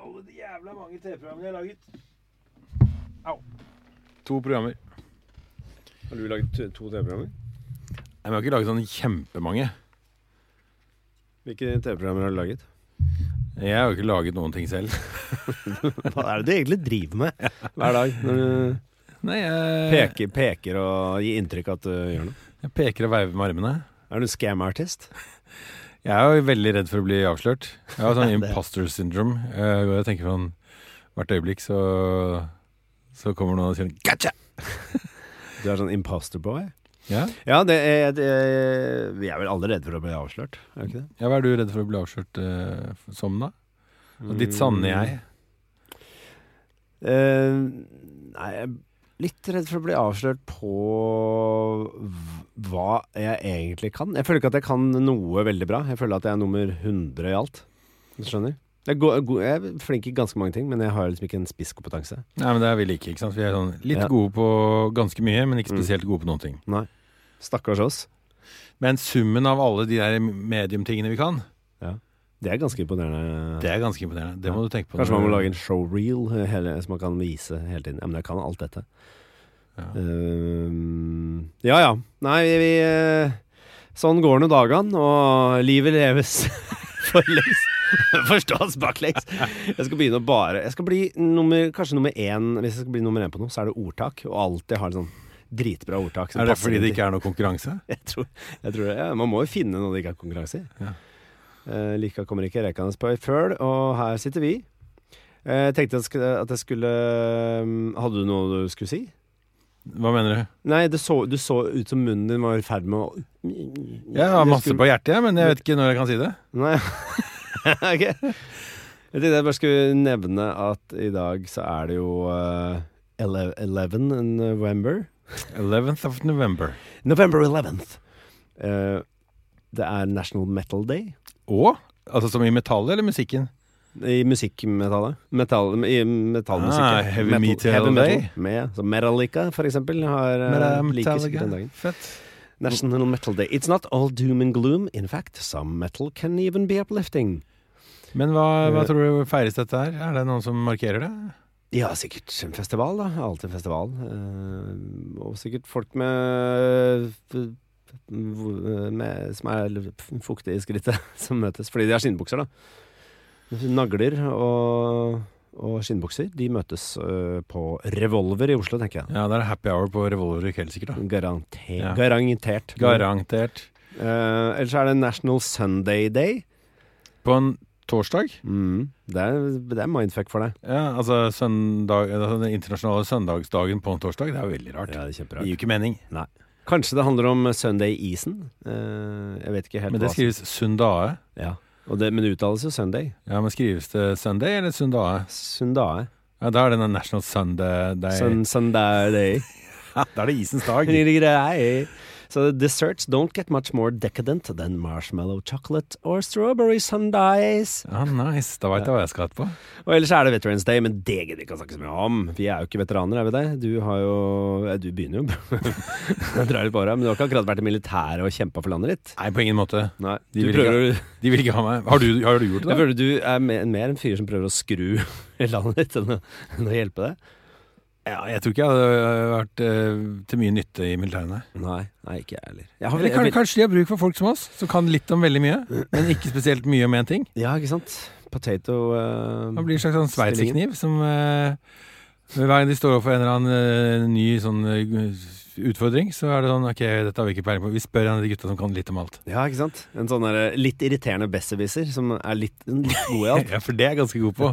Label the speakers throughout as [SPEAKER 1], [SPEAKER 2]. [SPEAKER 1] alle de jævla mange TV-programmene jeg har laget.
[SPEAKER 2] To programmer.
[SPEAKER 3] Har du laget to TV-programmer?
[SPEAKER 2] Nei, men Jeg har ikke laget sånn kjempemange.
[SPEAKER 3] Hvilke TV-programmer har du laget?
[SPEAKER 2] Jeg har jo ikke laget noen ting selv.
[SPEAKER 3] Hva er det du egentlig driver med Eh. hver dag? Når du
[SPEAKER 2] Nei, jeg
[SPEAKER 3] peker, peker og gir inntrykk at du gjør noe?
[SPEAKER 2] Jeg peker og veiver med armene.
[SPEAKER 3] Er du en scam artist?
[SPEAKER 2] Jeg er jo veldig redd for å bli avslørt. Jeg har sånn
[SPEAKER 3] Det-
[SPEAKER 2] imposter syndrome. Eh, hvor jeg tenker sånn Hvert øyeblikk så Så kommer noen og sier Gotcha!
[SPEAKER 3] Du er sånn imposter boy?
[SPEAKER 2] Ja?
[SPEAKER 3] Ja, det er, det er, vi er vel alle redde for å bli avslørt, er vi ikke det?
[SPEAKER 2] ja, hva er du redd for å bli avslørt eh, f- som, da?
[SPEAKER 3] Mm.
[SPEAKER 2] Og ditt sanne jeg?
[SPEAKER 3] Eh, nei, jeg er litt redd for å bli avslørt på v- hva jeg egentlig kan. Jeg føler ikke at jeg kan noe veldig bra. Jeg føler at jeg er nummer 100 i alt. Hvis du skjønner? Jeg, er go- go- jeg er flink i ganske mange ting, men jeg har liksom ikke en spisskompetanse.
[SPEAKER 2] Nei, men det er vi like, ikke sant? Vi er sånn litt
[SPEAKER 3] Ja.
[SPEAKER 2] gode på ganske mye, men ikke
[SPEAKER 3] Mm.
[SPEAKER 2] spesielt gode på noen ting.
[SPEAKER 3] Stakkars oss.
[SPEAKER 2] Men summen av alle de der mediumtingene vi kan,
[SPEAKER 3] Det er ganske imponerende.
[SPEAKER 2] det er ganske imponerende. Det må du tenke på.
[SPEAKER 3] Kanskje man må lage en showreel eh, hele, som man kan vise hele tiden. Ja, men jeg kan alt dette.
[SPEAKER 2] ja.
[SPEAKER 3] Eh, ja ja. Nei, vi, vi eh, Sånn går nå dagene, og livet leves forlengs. Forstås baklengs. Jeg skal begynne å bare Jeg skal bli nummer, kanskje nummer én Hvis jeg skal bli nummer én på noe, så er det ordtak. Og alltid ha en sånn dritbra ordtak.
[SPEAKER 2] Er det fordi det ikke er noe konkurranse?
[SPEAKER 3] jeg tror, jeg tror det, ja. Man må jo finne noe det ikke er konkurranse i.
[SPEAKER 2] Ja.
[SPEAKER 3] Eh, Lika kommer ikke rekende på ei føl, og her sitter vi. Eh, Jeg tenkte jeg sk- at jeg skulle mm, Hadde du noe du skulle si?
[SPEAKER 2] Hva mener du?
[SPEAKER 3] Nei, det så, du så ut som munnen din var i ferd med å
[SPEAKER 2] Jeg har masse på hjertet, jeg, men jeg vet ikke når jeg kan si det.
[SPEAKER 3] Nei, ok. Jeg tenkte jeg bare skulle nevne at i dag så er det jo eh, ele- 11 November.
[SPEAKER 2] 11th of November.
[SPEAKER 3] November 11th. Eh, det er National Metal Day.
[SPEAKER 2] Og? Altså som i metallet eller musikken?
[SPEAKER 3] I musikkmetallet. Metall, I metallmusikken.
[SPEAKER 2] Ah, heavy metal day.
[SPEAKER 3] Med, så Metallica, for eksempel,
[SPEAKER 2] Eh,
[SPEAKER 3] har uh, likeskudd den dagen.
[SPEAKER 2] Fett.
[SPEAKER 3] National Metal Day. It's not all doom and gloom. In fact, some metal can even be uplifting.
[SPEAKER 2] Men hva, hva
[SPEAKER 3] Eh.
[SPEAKER 2] tror du feires dette her? Er det noen som markerer det?
[SPEAKER 3] Ja, sikkert en festival, da. Alltid en festival. Eh, og sikkert folk med, med Som er fuktige i skrittet, som møtes. Fordi de har skinnbukser, da. Nagler og, og skinnbukser, de møtes eh, på Revolver i Oslo, tenker jeg.
[SPEAKER 2] Ja, da er det happy hour på Revolver i kveld sikkert, da.
[SPEAKER 3] Garante
[SPEAKER 2] Ja.
[SPEAKER 3] Garantert.
[SPEAKER 2] Mm. Garantert.
[SPEAKER 3] Eh, ellers er det National Sunday Day.
[SPEAKER 2] På en torsdag?
[SPEAKER 3] Mm. Det, er, det er mindfuck for deg.
[SPEAKER 2] Ja, altså, søndag, altså den internasjonale søndagsdagen på en torsdag. Det er jo veldig rart.
[SPEAKER 3] det er
[SPEAKER 2] det gir jo ikke mening.
[SPEAKER 3] Kanskje det handler om Sunday Isen. Eh, jeg vet ikke helt
[SPEAKER 2] Men det
[SPEAKER 3] hva som-
[SPEAKER 2] skrives sundae.
[SPEAKER 3] Ja. Og det, men det uttales jo Sunday.
[SPEAKER 2] Ja, men skrives det Sunday eller sundae?
[SPEAKER 3] Sundae.
[SPEAKER 2] Ja, da er det den National Sunday Day.
[SPEAKER 3] Sun, Sunday day.
[SPEAKER 2] da er det isens dag.
[SPEAKER 3] So the desserts don't get much more decadent than marshmallow chocolate or strawberry sundaes.
[SPEAKER 2] Ah, nice. Da veit jeg hva jeg skal etterpå.
[SPEAKER 3] Og ellers er det Veterans Day, men det gidder vi ikke å snakke så mye om. Vi er jo ikke veteraner, er vi det? Du har jo ja, Du begynner jo. Jeg drar litt på åra, men du har ikke akkurat vært i militæret og kjempa for landet ditt?
[SPEAKER 2] Nei, på ingen måte.
[SPEAKER 3] Nei.
[SPEAKER 2] De
[SPEAKER 3] Du
[SPEAKER 2] vil
[SPEAKER 3] prøver,
[SPEAKER 2] De vil ikke ha meg. Har du, har du
[SPEAKER 3] jeg
[SPEAKER 2] gjort det? da?
[SPEAKER 3] føler du er mer, mer en fyr som prøver å skru landet ditt enn å, enn å hjelpe det.
[SPEAKER 2] Ja, jeg tror ikke jeg hadde vært eh, til mye nytte i militæret. nei.
[SPEAKER 3] Nei, nei ikke jeg heller. Jeg har,
[SPEAKER 2] Eller kan,
[SPEAKER 3] jeg,
[SPEAKER 2] kanskje de har bruk for folk som oss, som kan litt om veldig mye, men ikke spesielt mye om én ting.
[SPEAKER 3] ja, ikke sant? Potato eh,
[SPEAKER 2] Han blir en slags sånn sveitserkniv som eh, hver gang de står overfor en eller annen eh, ny sånn eh, utfordring, så er det sånn Ok, dette har vi ikke peiling på. Vi spør en av de gutta som kan litt om alt.
[SPEAKER 3] Ja, ikke sant? En sånn der, litt irriterende besserwisser som er litt, litt god i alt.
[SPEAKER 2] Ja, for det er jeg ganske god på.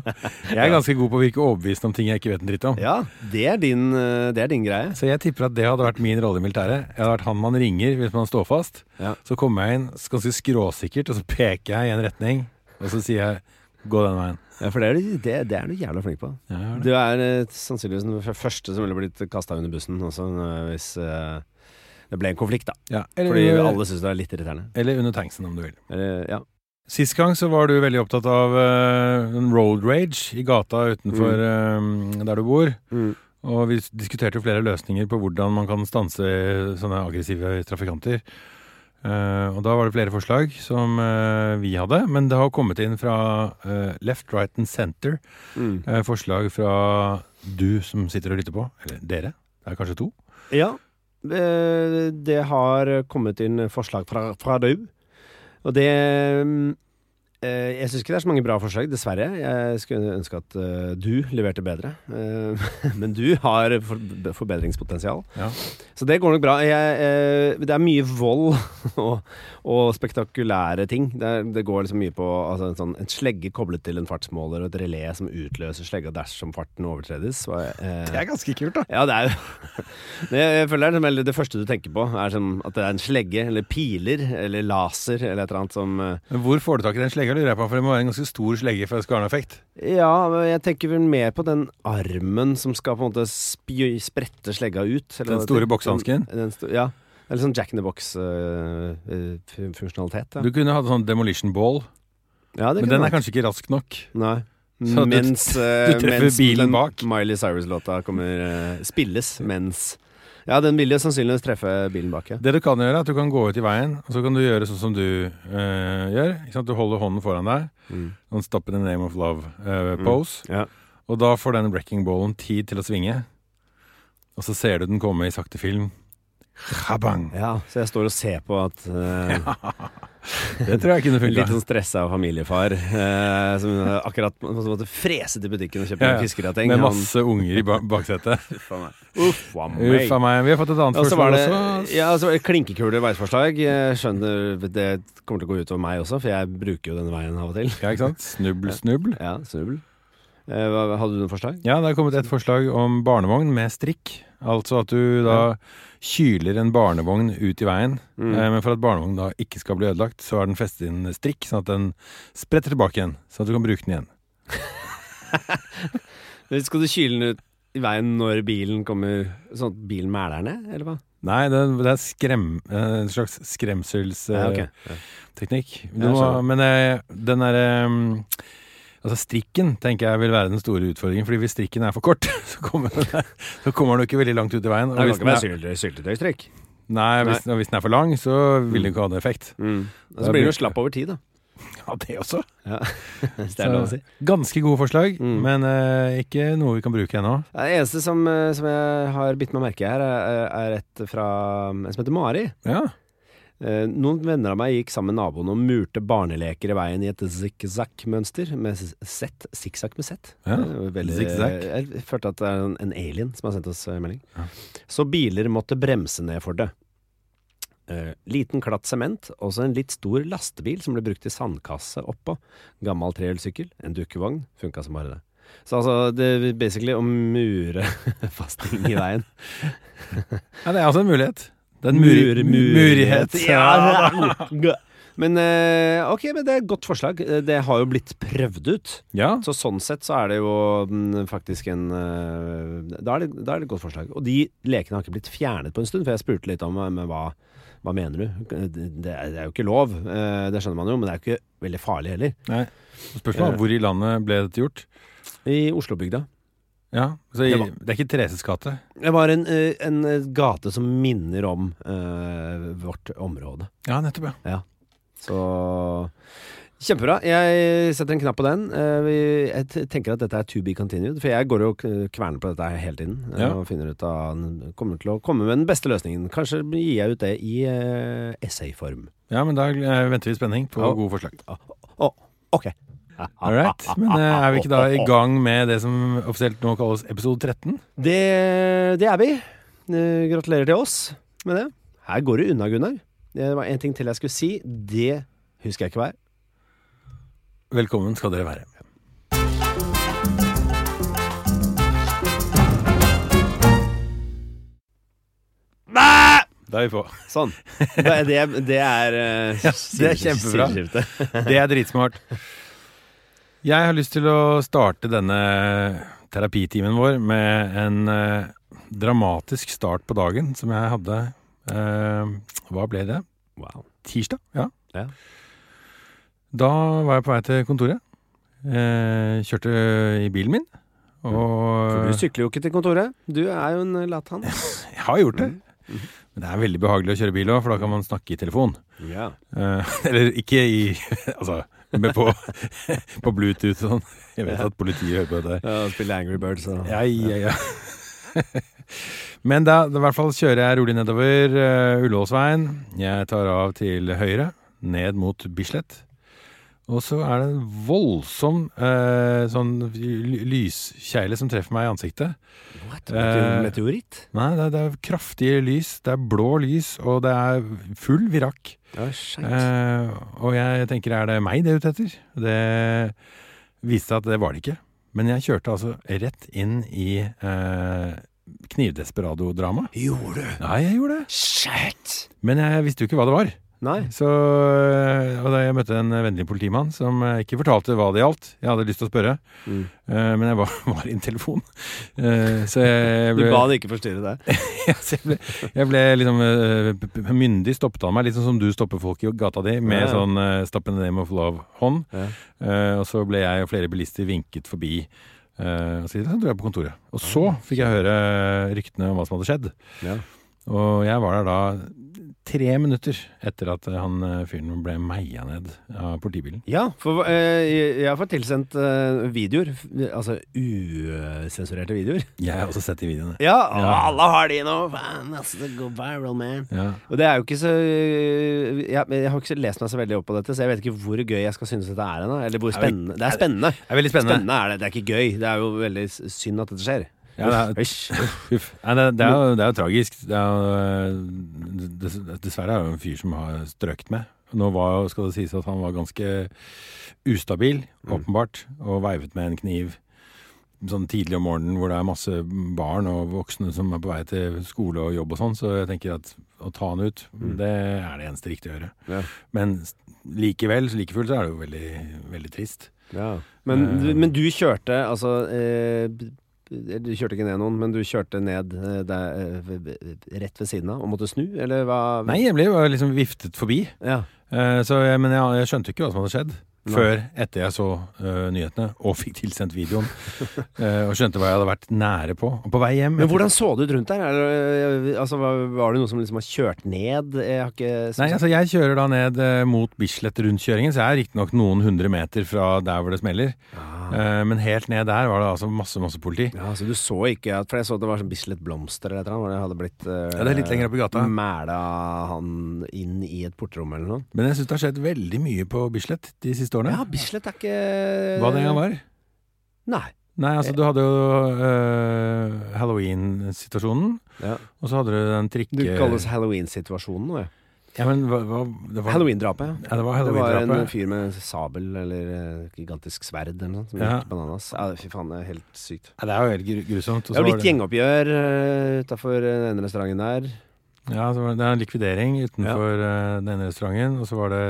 [SPEAKER 2] Jeg er ganske god på å virke overbevist om ting jeg ikke vet en dritt om.
[SPEAKER 3] Ja, det er din, eh, det er din greie.
[SPEAKER 2] Så jeg tipper at det hadde vært min rolle i militæret. Jeg hadde vært han man ringer hvis man står fast.
[SPEAKER 3] Ja.
[SPEAKER 2] Så kommer jeg inn ganske skråsikkert, og så peker jeg i en retning, og så sier jeg 'gå den veien'.
[SPEAKER 3] Ja, for det er, du- det, det er du jævla flink på.
[SPEAKER 2] Ja, jeg har det.
[SPEAKER 3] Du er eh, sannsynligvis den f- første som ville blitt kasta under bussen også, eh, hvis eh, det ble en konflikt, da.
[SPEAKER 2] Ja,
[SPEAKER 3] Fordi
[SPEAKER 2] eller,
[SPEAKER 3] alle syns det er litt irriterende.
[SPEAKER 2] eller under tanksen, om du vil.
[SPEAKER 3] Eller, ja.
[SPEAKER 2] Sist gang så var du veldig opptatt av eh, en road rage i gata utenfor eh, der du bor. Og vi s- diskuterte jo flere løsninger på hvordan man kan stanse sånne aggressive trafikanter. Eh, Eh, og da var det flere forslag som eh, vi hadde, men det har kommet inn fra eh, Left, Right and Center
[SPEAKER 3] Mm.
[SPEAKER 2] eh, forslag fra du som sitter og lytter på, eller dere. Det er kanskje to.
[SPEAKER 3] Ja, eh, det har kommet inn forslag fra, fra deg. Og det eh, Jeg syns ikke det er så mange bra forslag, dessverre. Jeg skulle ønske at eh, du leverte bedre. Eh, Men du har for- forbedringspotensial.
[SPEAKER 2] Ja.
[SPEAKER 3] Så det går nok bra. Jeg, eh, det er mye vold og, og spektakulære ting. Det, er, det går liksom mye på altså, en, sånn, en slegge koblet til en fartsmåler og et relé som utløser slegga dersom farten overtredes. Og, eh,
[SPEAKER 2] er ganske kult, da.
[SPEAKER 3] ja, det er jo Men jeg, jeg føler det, er som- eller det første du tenker på, er som at det er en slegge, eller piler, eller laser, eller et eller annet som eh,
[SPEAKER 2] Men hvor får du tak i den slegga? lurer jeg på, For det må være en ganske stor slegge for at det skal ha en effekt.
[SPEAKER 3] Ja, men jeg tenker vel mer på den armen som skal på en måte spjø- sprette slegga ut.
[SPEAKER 2] Den
[SPEAKER 3] hva det
[SPEAKER 2] store
[SPEAKER 3] heter.
[SPEAKER 2] boksehansken?
[SPEAKER 3] Den- den sto- Ja. Eller sånn Jack in the eh, Box-funksjonalitet. ja.
[SPEAKER 2] Du kunne hatt sånn demolition ball,
[SPEAKER 3] ja, det
[SPEAKER 2] men
[SPEAKER 3] kunne
[SPEAKER 2] den
[SPEAKER 3] vært.
[SPEAKER 2] er kanskje ikke rask nok.
[SPEAKER 3] Nei.
[SPEAKER 2] Så du-
[SPEAKER 3] mens eh,
[SPEAKER 2] du treffer
[SPEAKER 3] mens
[SPEAKER 2] bilen
[SPEAKER 3] den
[SPEAKER 2] bak.
[SPEAKER 3] Miley Cyrus-låta kommer eh, spilles mens Ja, den vil jo sannsynligvis treffe bilen bak, ja.
[SPEAKER 2] Det du kan gjøre, er at du kan gå ut i veien, og så kan du gjøre sånn som du eh, gjør. Ikke sant? Du holder hånden foran deg,
[SPEAKER 3] Mm.
[SPEAKER 2] sånn stop in the name of
[SPEAKER 3] Mm.
[SPEAKER 2] love-pose.
[SPEAKER 3] Ja.
[SPEAKER 2] Og da får den wrecking ballen tid til å svinge. Og så ser du den komme i sakte film. Kabang!
[SPEAKER 3] Ja, så jeg står og ser på at eh,
[SPEAKER 2] Det tror jeg kunne
[SPEAKER 3] En litt
[SPEAKER 2] funka.
[SPEAKER 3] sånn stressa familiefar eh, som akkurat som måtte fese til butikken og kjøpe
[SPEAKER 2] Ja,
[SPEAKER 3] ja,
[SPEAKER 2] ja.
[SPEAKER 3] fiskerateng.
[SPEAKER 2] Med masse unger i ba baksetet.
[SPEAKER 3] Uff a meg.
[SPEAKER 2] Uff a meg. Vi har fått et annet
[SPEAKER 3] Og så var
[SPEAKER 2] spørsmål
[SPEAKER 3] det
[SPEAKER 2] også.
[SPEAKER 3] ja, altså- så var det klinkekule veiforslag. Jeg skjønner det kommer til å gå utover meg også, for jeg bruker jo denne veien av og til.
[SPEAKER 2] Ja, ikke sant? Snubbel, snubbel.
[SPEAKER 3] Ja, snubbel. Eh, hva- Hadde du noen forslag?
[SPEAKER 2] Ja, det er kommet et forslag om barnevogn med strikk. Altså at du da kyler en barnevogn ut i veien.
[SPEAKER 3] Mm.
[SPEAKER 2] Eh, Men for at barnevognen da ikke skal bli ødelagt, så er den festet inn strikk, sånn at den spretter tilbake igjen. Sånn at du kan bruke den igjen.
[SPEAKER 3] Men Skal du kyle den ut i veien når bilen kommer, sånn at bilen mæler den ned, eller hva?
[SPEAKER 2] Nei, det, det er skrem, eh, en slags
[SPEAKER 3] Ja, ok.
[SPEAKER 2] skremselsteknikk. Eh,
[SPEAKER 3] Ja, jeg skjønner.
[SPEAKER 2] Men eh, den derre Altså strikken tenker jeg vil være den store utfordringen. Fordi hvis strikken er for kort, så kommer den, så kommer den jo ikke veldig langt ut i veien.
[SPEAKER 3] Det
[SPEAKER 2] Og
[SPEAKER 3] kan
[SPEAKER 2] hvis
[SPEAKER 3] ikke
[SPEAKER 2] den
[SPEAKER 3] være
[SPEAKER 2] er,
[SPEAKER 3] sylte- syltetøystrikk.
[SPEAKER 2] nei, hvis, og hvis den er for lang, så vil den ikke ha noen effekt.
[SPEAKER 3] Mm. Og
[SPEAKER 2] Da
[SPEAKER 3] Så blir den jo
[SPEAKER 2] blir-
[SPEAKER 3] slapp over tid, da.
[SPEAKER 2] Ja, det også.
[SPEAKER 3] Hvis det er lov å si.
[SPEAKER 2] Ganske gode forslag,
[SPEAKER 3] Mm.
[SPEAKER 2] men eh, ikke noe vi kan bruke ennå.
[SPEAKER 3] Ja, Det eneste som, eh, som jeg har bitt meg merke i her, er, eh, er et fra en som heter Mari.
[SPEAKER 2] Ja.
[SPEAKER 3] Eh, Noen venner av meg gikk sammen med naboen og murte barneleker i veien i et zikzakk-mønster med s- sett. Sikksakk med sett.
[SPEAKER 2] Ja,
[SPEAKER 3] Det er jo veldig- eh,
[SPEAKER 2] zigzag.
[SPEAKER 3] Jeg følte at det er en- en alien som har sendt oss eh, melding.
[SPEAKER 2] Ja.
[SPEAKER 3] Så biler måtte bremse ned for det. Eh, liten klatt sement, og så en litt stor lastebil som ble brukt til sandkasse oppå. Gammel trehjulssykkel, en dukkevogn. Funka som bare det. Så altså, det er basically å mure fast ting i veien.
[SPEAKER 2] ja, det er altså en mulighet. Det er en muri murighet.
[SPEAKER 3] Ja, da. Men eh, ok, men det er et godt forslag. Eh, Det har jo blitt prøvd ut.
[SPEAKER 2] Ja.
[SPEAKER 3] Så sånn sett så er det jo mm, faktisk en eh, da, er det, da er det et godt forslag. Og de lekene har ikke blitt fjernet på en stund, for jeg spurte litt om eh, men hva, hva mener du? Det, det er jo ikke lov, eh, det skjønner man jo, men det er jo ikke veldig farlig heller.
[SPEAKER 2] Spørsmålet er hvor i landet ble dette gjort?
[SPEAKER 3] I Oslobygda.
[SPEAKER 2] Ja, så i,
[SPEAKER 3] Det var-
[SPEAKER 2] Det er ikke Thereses gate.
[SPEAKER 3] Det var en, eh, en gate som minner om eh, vårt område.
[SPEAKER 2] Ja, nettopp, ja.
[SPEAKER 3] Så Kjempebra. Jeg setter en knapp på den. Eh, vi- Jeg t- tenker at dette er to be continued, for jeg går jo og k- kverner på dette her hele tiden. eh,
[SPEAKER 2] Ja.
[SPEAKER 3] Og finner ut av Kommer til å komme med den beste løsningen. Kanskje gir jeg ut det i eh, essayform.
[SPEAKER 2] Ja, men da eh, venter vi i spenning på
[SPEAKER 3] Ja.
[SPEAKER 2] gode forslag.
[SPEAKER 3] Å, ok.
[SPEAKER 2] All right. Men eh, er vi ikke da i gang med det som offisielt nå kalles episode 13?
[SPEAKER 3] Det, det er vi. Eh, Gratulerer til oss med det. Her går det unna, Gunnar. Det var en ting til jeg skulle si. Det husker jeg ikke hva er.
[SPEAKER 2] Velkommen skal dere være. Da er vi på.
[SPEAKER 3] Sånn. Det, det, det er eh,
[SPEAKER 2] det er kjempebra.
[SPEAKER 3] sideskifte.
[SPEAKER 2] Det er dritsmart. Jeg har lyst til å starte denne terapitimen vår med en eh, dramatisk start på dagen som jeg hadde eh, Hva ble det?
[SPEAKER 3] Wow.
[SPEAKER 2] Tirsdag? Ja.
[SPEAKER 3] Ja.
[SPEAKER 2] Da var jeg på vei til kontoret. Eh, kjørte i bilen min. Og
[SPEAKER 3] Mm. For du sykler jo ikke til kontoret. Du er jo en eh, lat han.
[SPEAKER 2] jeg har gjort det. Men det er veldig behagelig å kjøre bil òg, for da kan man snakke i telefon.
[SPEAKER 3] Ja.
[SPEAKER 2] Eh, eller ikke i Altså, men på, på Bluetooth og sånn. Jeg vet at politiet hører på dette. her.
[SPEAKER 3] ja Spille Angry Birds og
[SPEAKER 2] Ja, ja, ja. Men da, i hvert fall kjører jeg rolig nedover uh, Ullevålsveien. Jeg tar av til høyre, ned mot Bislett. Og så er det en voldsom eh, sånn ly- lyskjegle som treffer meg i ansiktet.
[SPEAKER 3] What?
[SPEAKER 2] Eh,
[SPEAKER 3] Meteoritt?
[SPEAKER 2] Nei, det er, det er kraftige lys, det er blå lys, og det er full virakk.
[SPEAKER 3] Ja, shit.
[SPEAKER 2] Eh, og jeg tenker, er det meg det er ute etter? Det viste seg at det var det ikke. Men jeg kjørte altså rett inn i eh, knivdesperado-drama.
[SPEAKER 3] Gjorde du?
[SPEAKER 2] Ja, jeg gjorde det.
[SPEAKER 3] Shit!
[SPEAKER 2] Men jeg visste jo ikke hva det var.
[SPEAKER 3] Nei.
[SPEAKER 2] Så, eh, og da jeg møtte en vennlig politimann som eh, ikke fortalte hva det gjaldt. Jeg hadde lyst til å spørre,
[SPEAKER 3] Mm.
[SPEAKER 2] eh, men jeg var, var i en telefon. Eh, så jeg
[SPEAKER 3] Du
[SPEAKER 2] ble,
[SPEAKER 3] ba det ikke forstyrre deg.
[SPEAKER 2] Ja, så jeg ble, jeg ble liksom eh, p- p- myndig stoppet av meg, litt sånn som du stopper folk i gata di med
[SPEAKER 3] Ja, ja.
[SPEAKER 2] sånn eh, 'stop in the name of love'-hånd.
[SPEAKER 3] Ja.
[SPEAKER 2] Eh, og så ble jeg og flere bilister vinket forbi. eh, og så da dro jeg på kontoret. Og så fikk jeg høre ryktene om hva som hadde skjedd.
[SPEAKER 3] Ja.
[SPEAKER 2] Og jeg var der da tre minutter etter at eh, han eh, fyren ble meia ned av politibilen.
[SPEAKER 3] Ja, for eh, jeg jeg har fått tilsendt eh, videoer. f- Altså usensurerte videoer.
[SPEAKER 2] Jeg har også sett de videoene.
[SPEAKER 3] Ja, alle har de nå! Faen, altså, det går viral, man.
[SPEAKER 2] Ja.
[SPEAKER 3] Og det er jo ikke så eh, jeg, jeg har ikke så lest meg så veldig opp på dette, så jeg vet ikke hvor gøy jeg skal synes dette er ennå. Eller hvor
[SPEAKER 2] Det er vel-
[SPEAKER 3] spennende. Det er spennende.
[SPEAKER 2] Det er veldig spennende.
[SPEAKER 3] Spennende er det. Det er ikke gøy. Det er jo veldig s- synd at dette skjer.
[SPEAKER 2] Ja, det
[SPEAKER 3] Uff, uff.
[SPEAKER 2] Uff. Nei, det, det, er jo, det er jo tragisk. Det er jo, eh, dess- dessverre er det jo en fyr som har strøkt med. Nå var, skal det sies at han var ganske ustabil, åpenbart, og veivet med en kniv sånn tidlig om morgenen hvor det er masse barn og voksne som er på vei til skole og jobb og sånn, så jeg tenker at å ta han ut, det er det eneste riktige å gjøre.
[SPEAKER 3] Ja.
[SPEAKER 2] Men s- likevel, like fullt, så er det jo veldig, veldig trist.
[SPEAKER 3] Men,
[SPEAKER 2] Eh.
[SPEAKER 3] du, men du kjørte altså eh, b- b- Du kjørte ikke ned noen, men du kjørte ned eh, der, eh, v- v- rett ved siden av og måtte snu, eller hva?
[SPEAKER 2] Nei, jeg ble jo liksom viftet forbi.
[SPEAKER 3] Ja.
[SPEAKER 2] Eh, Så jeg, men jeg, jeg skjønte ikke hva som hadde skjedd
[SPEAKER 3] Nei.
[SPEAKER 2] før etter jeg så eh, nyhetene og fikk tilsendt videoen. eh, og skjønte hva jeg hadde vært nære på. Og på vei hjem
[SPEAKER 3] Men hvordan så det ut rundt der? Er det, eh, altså, var, var det noen som liksom har kjørt ned? Jeg har ikke
[SPEAKER 2] Nei, altså Jeg kjører da ned eh, mot Bislett-rundkjøringen, så jeg er riktignok noen hundre meter fra der hvor det smeller.
[SPEAKER 3] ah.
[SPEAKER 2] Eh, men helt ned der var det altså masse, masse politi.
[SPEAKER 3] Ja, så du så ikke at For jeg så at det var sånn Bislett Blomster eller et eller annet, hvor det hadde blitt eh,
[SPEAKER 2] Ja, Det er litt lenger opp i gata.
[SPEAKER 3] Mæla han inn i et portrom eller noe?
[SPEAKER 2] Men jeg syns det har skjedd veldig mye på Bislett eh, de siste årene.
[SPEAKER 3] Ja, Bislett er ikke
[SPEAKER 2] Hva det engang var.
[SPEAKER 3] Nei.
[SPEAKER 2] Nei, altså du hadde jo eh, Halloween-situasjonen,
[SPEAKER 3] Ja.
[SPEAKER 2] og så hadde du den
[SPEAKER 3] Du
[SPEAKER 2] trikke...
[SPEAKER 3] kalles halloween-situasjonen nå, ja.
[SPEAKER 2] Ja, men hva, hva, det var...
[SPEAKER 3] Halloween-drapet, ja.
[SPEAKER 2] Ja, det var
[SPEAKER 3] Det var en
[SPEAKER 2] halloween-drapet.
[SPEAKER 3] fyr med sabel eller eh, gigantisk sverd eller noe sånt, som
[SPEAKER 2] Ja.
[SPEAKER 3] gikk bananas. Ja, fy faen, det er helt sykt.
[SPEAKER 2] Ja, det er jo helt gru- grusomt. og
[SPEAKER 3] Det er
[SPEAKER 2] så
[SPEAKER 3] jo
[SPEAKER 2] var
[SPEAKER 3] litt gjengoppgjør uh, utafor den ene restauranten der.
[SPEAKER 2] Ja, så var det, det er en likvidering utenfor eh, den ene restauranten, og så var det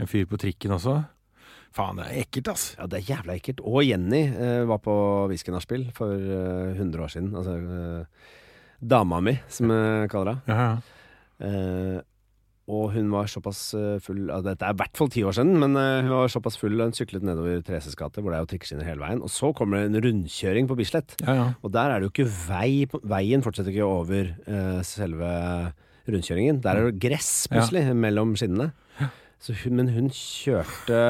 [SPEAKER 2] en fyr på trikken også. Faen, det er ekkelt, ass.
[SPEAKER 3] Ja, det er jævla ekkelt. Og Jenny eh, var på Whisky-nachspiel for eh, 100 år siden. Altså eh, dama mi, som jeg kaller henne.
[SPEAKER 2] Ja, ja.
[SPEAKER 3] Eh, og hun var såpass eh, full ja, Dette er i hvert fall ti år siden, men eh, hun var såpass full og hun syklet nedover Thereses gate, hvor det er jo trikkeskinner hele veien. Og så kommer det en rundkjøring på Bislett.
[SPEAKER 2] ja, ja.
[SPEAKER 3] Og der er det jo ikke vei på- Veien fortsetter ikke over eh, selve rundkjøringen. Der er det gress, plutselig, mellom skinnene. Så hun, men hun kjørte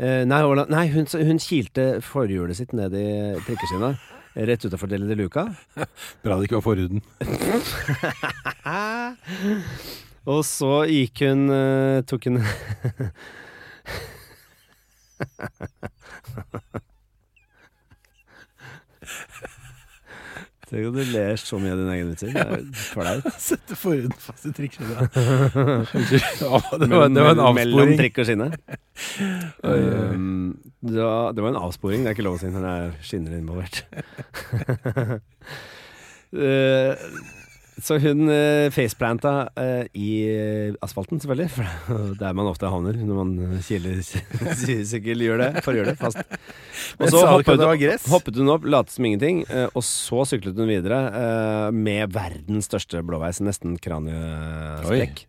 [SPEAKER 3] eh, Nei, hvordan- nei hun, hun kilte forhjulet sitt ned i trikkeskinna. Rett utafor Deli de Luca.
[SPEAKER 2] Bra det ikke var forhuden.
[SPEAKER 3] Hæ? Og så gikk hun eh, Tok hun Tenk at du ler så mye av dine egne vitser. Det er jo flaut.
[SPEAKER 2] Sette forhuden fast i trikkskjønna. det, var- det var en
[SPEAKER 3] Mellom- Mellom
[SPEAKER 2] avsporing.
[SPEAKER 3] trikk og skinne. Um, det, var, det var en avsporing. Det er ikke lov å si når det er skinner involvert. Eh, så hun eh, faceplanta eh, i asfalten, selvfølgelig. For der man ofte havner når man kilesykkel gjør det. Forgjør det fast. Og så hoppet, hun- hoppet hun opp, lot som ingenting, eh, og så syklet hun videre eh, med verdens største blåveis, nesten kraniesprekk.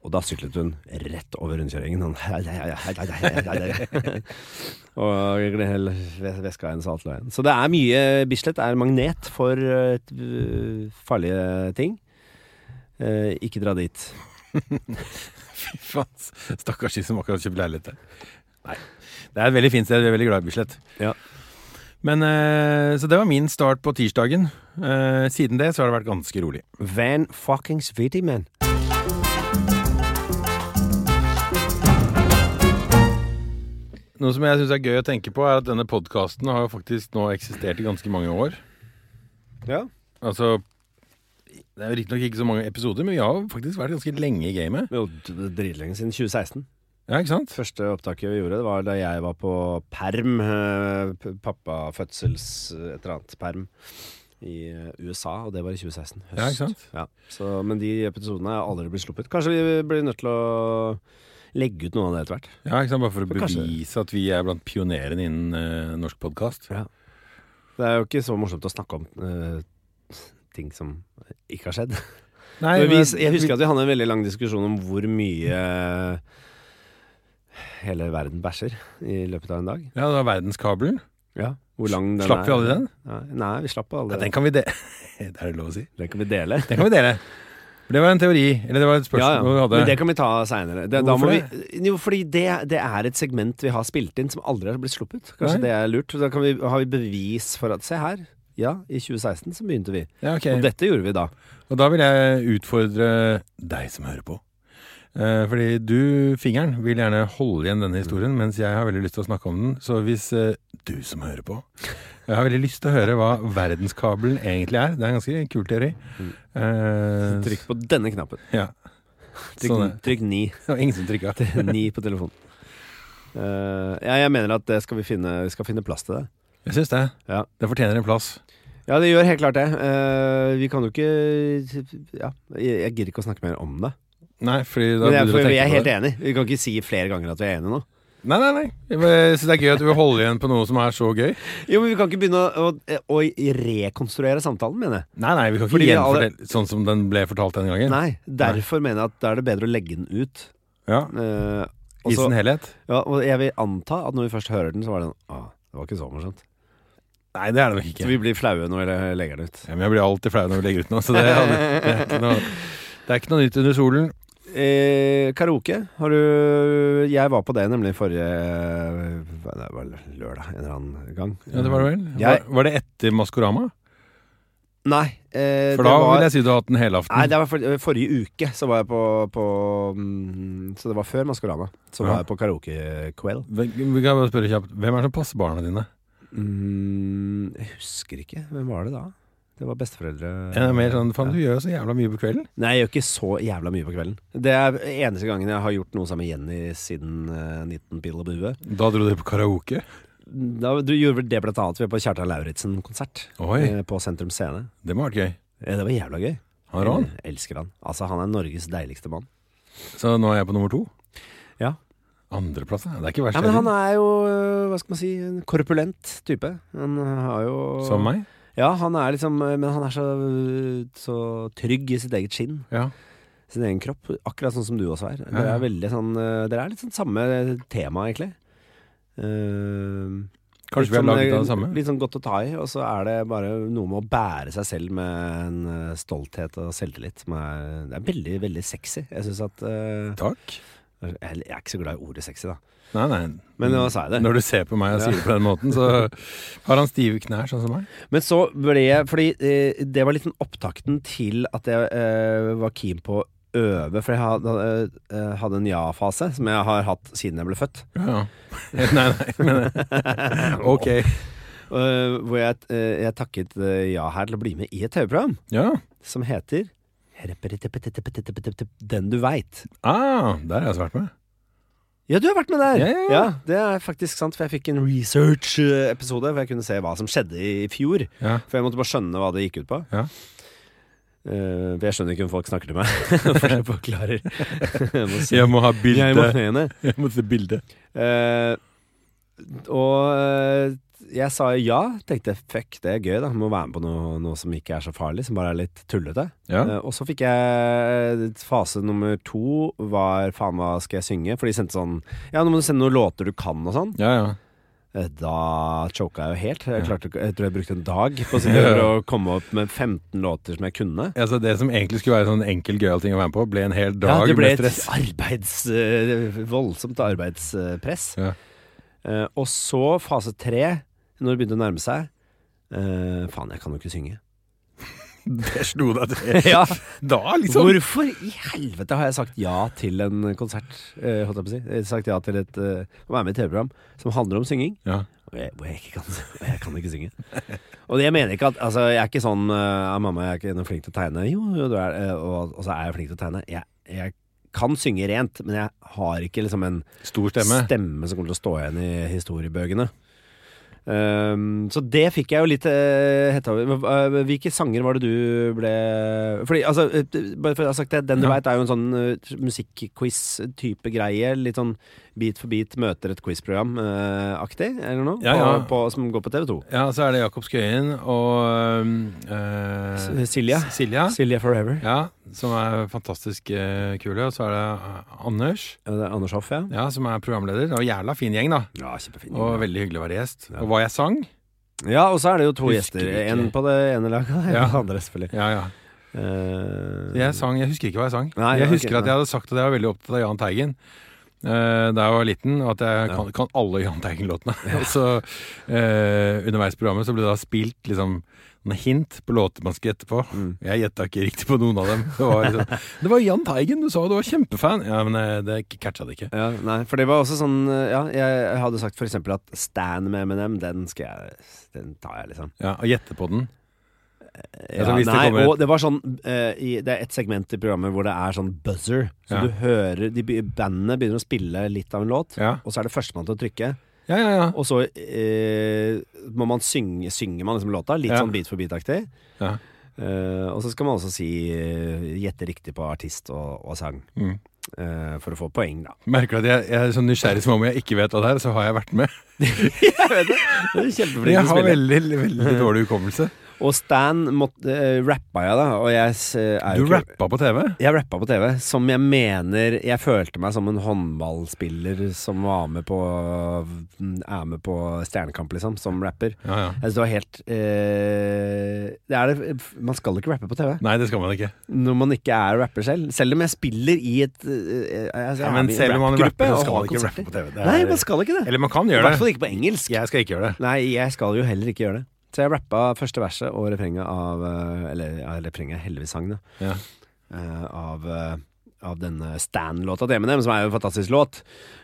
[SPEAKER 3] Og da syklet hun rett over rundkjøringen. Sånn. og hele ves- veska hennes og alt lå igjen. Så det er mye Bislett er magnet for eh, t- farlige ting. Eh, ikke dra dit.
[SPEAKER 2] Fy faen, stakkars de som akkurat kjøper leilighet der. Nei. Det er et veldig fint sted. Jeg er veldig glad i Bislett.
[SPEAKER 3] Ja.
[SPEAKER 2] Men, eh, så det var min start på tirsdagen. Eh, Siden det så har det vært ganske rolig.
[SPEAKER 3] Van fuckings vitty, man.
[SPEAKER 2] Noe som jeg syns er gøy å tenke på, er at denne podkasten har jo faktisk nå eksistert i ganske mange år.
[SPEAKER 3] Ja.
[SPEAKER 2] Altså Det er jo riktignok ikke så mange episoder, men vi har jo faktisk vært ganske lenge i gamet.
[SPEAKER 3] Jo, d- d- dritlenge siden 2016.
[SPEAKER 2] Ja, ikke sant?
[SPEAKER 3] Første opptaket vi gjorde, det var da jeg var på perm. eh, p- Pappafødsels eh, et eller annet perm i eh, USA, og det var i 2016. Høst.
[SPEAKER 2] Ja, ikke sant?
[SPEAKER 3] Ja, så, men de episodene er aldri blitt sluppet. Kanskje vi blir nødt til å legge ut noe av det etter hvert.
[SPEAKER 2] Ja, ikke sant? Bare for å
[SPEAKER 3] Men kanskje-
[SPEAKER 2] bevise at vi er blant pionerene innen eh, norsk podkast.
[SPEAKER 3] Det er jo ikke så morsomt å snakke om eh, ting som ikke har skjedd.
[SPEAKER 2] Nei,
[SPEAKER 3] Men vi,
[SPEAKER 2] men-
[SPEAKER 3] jeg husker at vi hadde en veldig lang diskusjon om hvor mye hele verden bæsjer i løpet av en dag.
[SPEAKER 2] Ja, det var Verdenskabelen.
[SPEAKER 3] Hvor lang den
[SPEAKER 2] Slapp
[SPEAKER 3] er.
[SPEAKER 2] vi alle den?
[SPEAKER 3] Nei, nei, vi slapp alle
[SPEAKER 2] Ja, den kan vi dele. det er det lov å si.
[SPEAKER 3] Den kan vi dele.
[SPEAKER 2] Den kan vi dele. For det var en teori, eller det var et spørsmål
[SPEAKER 3] Ja, ja.
[SPEAKER 2] vi hadde.
[SPEAKER 3] Men det kan vi ta seinere.
[SPEAKER 2] Hvorfor
[SPEAKER 3] Jo, fordi det, det er et segment vi har spilt inn som aldri har blitt sluppet. Kanskje
[SPEAKER 2] Nei.
[SPEAKER 3] det er lurt. Da kan vi, har vi bevis for at Se her. Ja, i 2016 så begynte vi.
[SPEAKER 2] Ja, ok.
[SPEAKER 3] Og dette gjorde vi da.
[SPEAKER 2] Og da vil jeg utfordre deg som hører på. Eh, fordi du, fingeren, vil gjerne holde igjen denne historien,
[SPEAKER 3] Mm.
[SPEAKER 2] mens jeg har veldig lyst til å snakke om den. Så hvis eh, du som hører på Jeg har veldig lyst til å høre hva verdenskabelen egentlig er. Det er en ganske kul teori. Eh,
[SPEAKER 3] Mm. Trykk på denne knappen.
[SPEAKER 2] Ja.
[SPEAKER 3] Trykk,
[SPEAKER 2] Sånn, ja.
[SPEAKER 3] trykk ni.
[SPEAKER 2] det var ingen som trykka.
[SPEAKER 3] Ni på telefonen. Eh, ja, jeg mener at det skal vi finne, vi skal finne plass til det.
[SPEAKER 2] Jeg syns det.
[SPEAKER 3] Ja.
[SPEAKER 2] Det fortjener en plass.
[SPEAKER 3] Ja, det gjør helt klart det. Eh, vi kan jo ikke Ja, jeg, jeg gidder ikke å snakke mer om det.
[SPEAKER 2] Nei, fordi da
[SPEAKER 3] Men jeg,
[SPEAKER 2] begynner du å
[SPEAKER 3] for,
[SPEAKER 2] tenke
[SPEAKER 3] jeg er
[SPEAKER 2] på det.
[SPEAKER 3] helt enig. Vi kan ikke si flere ganger at vi er enige nå.
[SPEAKER 2] Nei, nei, nei. Jeg syns det er gøy at du vil holde igjen på noe som er så gøy.
[SPEAKER 3] Jo, men Vi kan ikke begynne å, å, å rekonstruere samtalen, mener jeg.
[SPEAKER 2] Nei, nei, vi kan ikke
[SPEAKER 3] Fordi vi alle-
[SPEAKER 2] gjenfortelle sånn som den ble fortalt den gangen.
[SPEAKER 3] Nei, Derfor mener jeg at da er det bedre å legge den ut.
[SPEAKER 2] Ja,
[SPEAKER 3] Eh, og
[SPEAKER 2] I
[SPEAKER 3] så-
[SPEAKER 2] sin helhet.
[SPEAKER 3] ja, og jeg vil anta at når vi først hører den, så var den ah, det var ikke så morsomt.
[SPEAKER 2] Nei, det er det nok
[SPEAKER 3] Så
[SPEAKER 2] ikke.
[SPEAKER 3] vi blir flaue når vi legger den ut.
[SPEAKER 2] Ja, men jeg blir alltid flau når vi legger ut noe, så det, er- det, er ikke noe, det er ikke noe nytt under solen.
[SPEAKER 3] Eh, karaoke har du Jeg var på det nemlig forrige hva- Det var lørdag en eller annen gang.
[SPEAKER 2] Ja, det Var det vel?
[SPEAKER 3] Jeg-
[SPEAKER 2] Var, var det etter Maskorama?
[SPEAKER 3] Nei. Eh,
[SPEAKER 2] For
[SPEAKER 3] det
[SPEAKER 2] da
[SPEAKER 3] var,
[SPEAKER 2] vil jeg si du har hatt en helaften.
[SPEAKER 3] Nei, det var for, forrige uke så var jeg på, på mm, Så det var før Maskorama. Så
[SPEAKER 2] Ja.
[SPEAKER 3] var jeg på karaokekveld.
[SPEAKER 2] Hvem- Vi kan bare spørre kjapt Hvem er det som passer barna dine?
[SPEAKER 3] Mm, jeg husker ikke. Hvem var det da? Det var besteforeldre
[SPEAKER 2] En er mer sånn Faen, du gjør jo så jævla mye på kvelden.
[SPEAKER 3] Nei, jeg gjør ikke så jævla mye på kvelden. Det er eneste gangen jeg har gjort noe sammen med Jenny siden eh, 19 Pill og bue.
[SPEAKER 2] Da dro dere på karaoke.
[SPEAKER 3] Da, du gjorde vel det blant annet ved på Kjartan Lauritzen-konsert
[SPEAKER 2] Oi,
[SPEAKER 3] eh, på Sentrum Scene.
[SPEAKER 2] det må ha vært gøy.
[SPEAKER 3] Ja, det var jævla gøy.
[SPEAKER 2] Han er on.
[SPEAKER 3] Jeg elsker han. Altså, han er Norges deiligste mann.
[SPEAKER 2] Så nå er jeg på nummer to.
[SPEAKER 3] Ja.
[SPEAKER 2] Andreplass, ja. Det er ikke verst.
[SPEAKER 3] Ja, men
[SPEAKER 2] heller.
[SPEAKER 3] han er jo, øh, hva skal man si, en korpulent type. Han har jo
[SPEAKER 2] Som meg?
[SPEAKER 3] Ja, han er liksom øh, Men han er så, øh, så trygg i sitt eget skinn.
[SPEAKER 2] Ja.
[SPEAKER 3] Sin egen kropp. Akkurat sånn som du også er. Dere
[SPEAKER 2] Ja, ja.
[SPEAKER 3] er veldig sånn øh, Dere er litt sånn samme tema, egentlig. Eh, litt
[SPEAKER 2] Kanskje vi har
[SPEAKER 3] sånn,
[SPEAKER 2] laget av
[SPEAKER 3] øh,
[SPEAKER 2] det samme?
[SPEAKER 3] Litt sånn godt å ta i, og så er det bare noe med å bære seg selv med en øh, stolthet og selvtillit som er Det er veldig, veldig sexy. Jeg syns at øh,
[SPEAKER 2] Takk.
[SPEAKER 3] jeg, jeg er ikke så glad i ordet sexy, da.
[SPEAKER 2] Nei, nei.
[SPEAKER 3] Men nå sa jeg det.
[SPEAKER 2] Når du ser på meg og sier det på den måten, så har han stive knær, sånn som meg.
[SPEAKER 3] Men så ble jeg Fordi eh, det var litt sånn opptakten til at jeg eh, var keen på å øve. For jeg hadde, eh, hadde en ja-fase som jeg har hatt siden jeg ble født.
[SPEAKER 2] Ja, ja. Nei, nei, men ok.
[SPEAKER 3] Eh, hvor jeg, eh, jeg takket eh, ja her til å bli med i et TV-program
[SPEAKER 2] Ja.
[SPEAKER 3] som heter Den du veit.
[SPEAKER 2] Ah, der har jeg svært med.
[SPEAKER 3] Ja, du har vært med der!
[SPEAKER 2] Ja, ja, ja.
[SPEAKER 3] Det er faktisk sant, for jeg fikk en research-episode hvor jeg kunne se hva som skjedde i fjor.
[SPEAKER 2] Ja.
[SPEAKER 3] For jeg måtte bare skjønne hva det gikk ut på.
[SPEAKER 2] Ja.
[SPEAKER 3] Eh, for jeg skjønner ikke om folk snakker til meg. For jeg forklarer. jeg må se.
[SPEAKER 2] Jeg må ha
[SPEAKER 3] Jeg må
[SPEAKER 2] bilde.
[SPEAKER 3] se henne.
[SPEAKER 2] Jeg må se bilde.
[SPEAKER 3] Eh, og eh, jeg sa ja. Tenkte fuck, det er gøy, da. Må være med på noe, noe som ikke er så farlig, som bare er litt tullete.
[SPEAKER 2] Ja.
[SPEAKER 3] Eh, og så fikk jeg fase nummer to var faen, hva skal jeg synge? For de sendte sånn Ja, nå må du sende noen låter du kan og sånn.
[SPEAKER 2] Ja, ja.
[SPEAKER 3] eh, Da choka jeg jo helt. Jeg, klarte, ikke- jeg tror jeg brukte en dag på å sitte og komme opp med 15 låter som jeg kunne.
[SPEAKER 2] Altså det som egentlig skulle være en sånn enkel, gøyal ting å være med på, ble en hel dag
[SPEAKER 3] Ja, det ble
[SPEAKER 2] med
[SPEAKER 3] et
[SPEAKER 2] stress.
[SPEAKER 3] arbeids, eh, voldsomt arbeidspress.
[SPEAKER 2] Ja.
[SPEAKER 3] Eh, og så fase tre, når det begynte å nærme seg. eh, faen, jeg kan jo ikke synge.
[SPEAKER 2] Det slo deg til.
[SPEAKER 3] ja,
[SPEAKER 2] Da, liksom.
[SPEAKER 3] Hvorfor i helvete har jeg sagt ja til en konsert? Eh, holdt jeg på å si. Jeg har sagt ja til et, eh, å være med i et TV-program som handler om synging.
[SPEAKER 2] Ja.
[SPEAKER 3] Og jeg, hvor jeg, ikke kan, og jeg kan ikke synge. Og det jeg mener ikke at altså, Jeg er ikke sånn uh, Mamma, jeg er ikke noe flink til å tegne. Jo, jo du er eh, og, og så er jeg flink til å tegne. Jeg, jeg kan synge rent, men jeg har ikke liksom en
[SPEAKER 2] Stor stemme.
[SPEAKER 3] som kommer til å stå igjen i historiebøkene. Ehm, så det fikk jeg jo litt uh, hetta over. Hva- hva- Hvilke sanger var det du ble Fordi, altså, eh, bare for å ha sagt det, Den du
[SPEAKER 2] Ja.
[SPEAKER 3] veit er jo en sånn eh, musikkquiz-type greie. Litt sånn Beat for beat møter et quiz-program-aktig, eller noe?
[SPEAKER 2] Ja, ja.
[SPEAKER 3] På, på, som går på TV2.
[SPEAKER 2] Ja, så er det Jakob Skøyen og eh,
[SPEAKER 3] S- Silja.
[SPEAKER 2] Silja.
[SPEAKER 3] Silje Forever.
[SPEAKER 2] Ja, som er fantastisk eh, kule. Og så er det eh, Anders,
[SPEAKER 3] Ja, det er Anders Hoff, ja.
[SPEAKER 2] ja, som er programleder. Det var en jævla fin gjeng, da.
[SPEAKER 3] Ja, kjempefin.
[SPEAKER 2] Og veldig hyggelig å være gjest.
[SPEAKER 3] Ja.
[SPEAKER 2] Og hva jeg sang?
[SPEAKER 3] Ja, og så er det jo to
[SPEAKER 2] Husker
[SPEAKER 3] gjester.
[SPEAKER 2] ikke.
[SPEAKER 3] En på det ene laget, og en
[SPEAKER 2] Ja.
[SPEAKER 3] på det andre, selvfølgelig.
[SPEAKER 2] Ja, ja.
[SPEAKER 3] Eh,
[SPEAKER 2] Jeg, sang, jeg husker ikke hva jeg sang.
[SPEAKER 3] Nei,
[SPEAKER 2] jeg
[SPEAKER 3] ok,
[SPEAKER 2] husker at jeg hadde sagt at jeg var veldig opptatt av Jahn Teigen. eh, da jeg var liten, og at jeg kan, kan alle Jahn Teigen-låtene. Og så eh, underveis i programmet så ble det da spilt liksom noen hint på låter man skulle gjette på.
[SPEAKER 3] Mm.
[SPEAKER 2] Jeg gjetta ikke riktig på noen av dem. Det var, liksom, det var Jahn Teigen, du sa du var kjempefan! Ja, men eh, det catcha det ikke.
[SPEAKER 3] Ja, nei, for det var også sånn Ja, jeg hadde sagt for eksempel at Stan med Eminem, den skal jeg Den tar jeg, liksom.
[SPEAKER 2] Ja, Å gjette på den.
[SPEAKER 3] Ja,
[SPEAKER 2] Altså, hvis det
[SPEAKER 3] nei,
[SPEAKER 2] kommer et-
[SPEAKER 3] og det var sånn eh, i, Det er et segment i programmet hvor det er sånn buzzer. Så
[SPEAKER 2] Ja.
[SPEAKER 3] du hører de, be- Bandene begynner å spille litt av en låt,
[SPEAKER 2] Ja,
[SPEAKER 3] og så er det førstemann til å trykke.
[SPEAKER 2] ja, ja. ja.
[SPEAKER 3] Og så eh, må man synge Synger man liksom låta, litt
[SPEAKER 2] Ja.
[SPEAKER 3] sånn beat for beat-aktig.
[SPEAKER 2] Ja.
[SPEAKER 3] Eh, og så skal man også si eh, gjette riktig på artist og, og sang.
[SPEAKER 2] Mm.
[SPEAKER 3] Eh, for å få poeng, da.
[SPEAKER 2] Merker du at jeg, jeg er sånn nysgjerrig som om jeg ikke vet hva det er, så har jeg vært med. Men
[SPEAKER 3] Kjempeflink
[SPEAKER 2] jeg har veldig, veldig dårlig hukommelse.
[SPEAKER 3] Og Stan måtte, eh, rappa jeg da, og jeg s- eh, er jo
[SPEAKER 2] Du
[SPEAKER 3] ikke-
[SPEAKER 2] rappa på TV?
[SPEAKER 3] Jeg rappa på TV, som jeg mener Jeg følte meg som en håndballspiller som var med på Er med på Stjernekamp, liksom, som rapper.
[SPEAKER 2] Ja, ja.
[SPEAKER 3] Jeg synes det var helt eh, det er det, Man skal ikke rappe på TV
[SPEAKER 2] Nei, det skal man ikke.
[SPEAKER 3] når man ikke er rapper selv. Selv om jeg spiller i et eh, eh, altså, jeg
[SPEAKER 2] Ja,
[SPEAKER 3] er
[SPEAKER 2] men
[SPEAKER 3] med i en
[SPEAKER 2] selv om man
[SPEAKER 3] rappgruppe
[SPEAKER 2] rapper, så
[SPEAKER 3] og
[SPEAKER 2] skal
[SPEAKER 3] har
[SPEAKER 2] man ikke
[SPEAKER 3] konserter.
[SPEAKER 2] rappe på TV. Det er,
[SPEAKER 3] Nei, man skal ikke det.
[SPEAKER 2] Eller man kan
[SPEAKER 3] I
[SPEAKER 2] gjøre
[SPEAKER 3] hvert fall
[SPEAKER 2] det.
[SPEAKER 3] ikke på engelsk.
[SPEAKER 2] Jeg skal ikke gjøre det.
[SPEAKER 3] Nei, jeg skal jo heller ikke gjøre det. Så jeg rappa første verset og refrenget av eh, Eller ja, refrenget, heldigvis sangen, da.
[SPEAKER 2] Ja.
[SPEAKER 3] Eh, av, eh, av denne Stan-låta til Eminem, som er jo en fantastisk låt.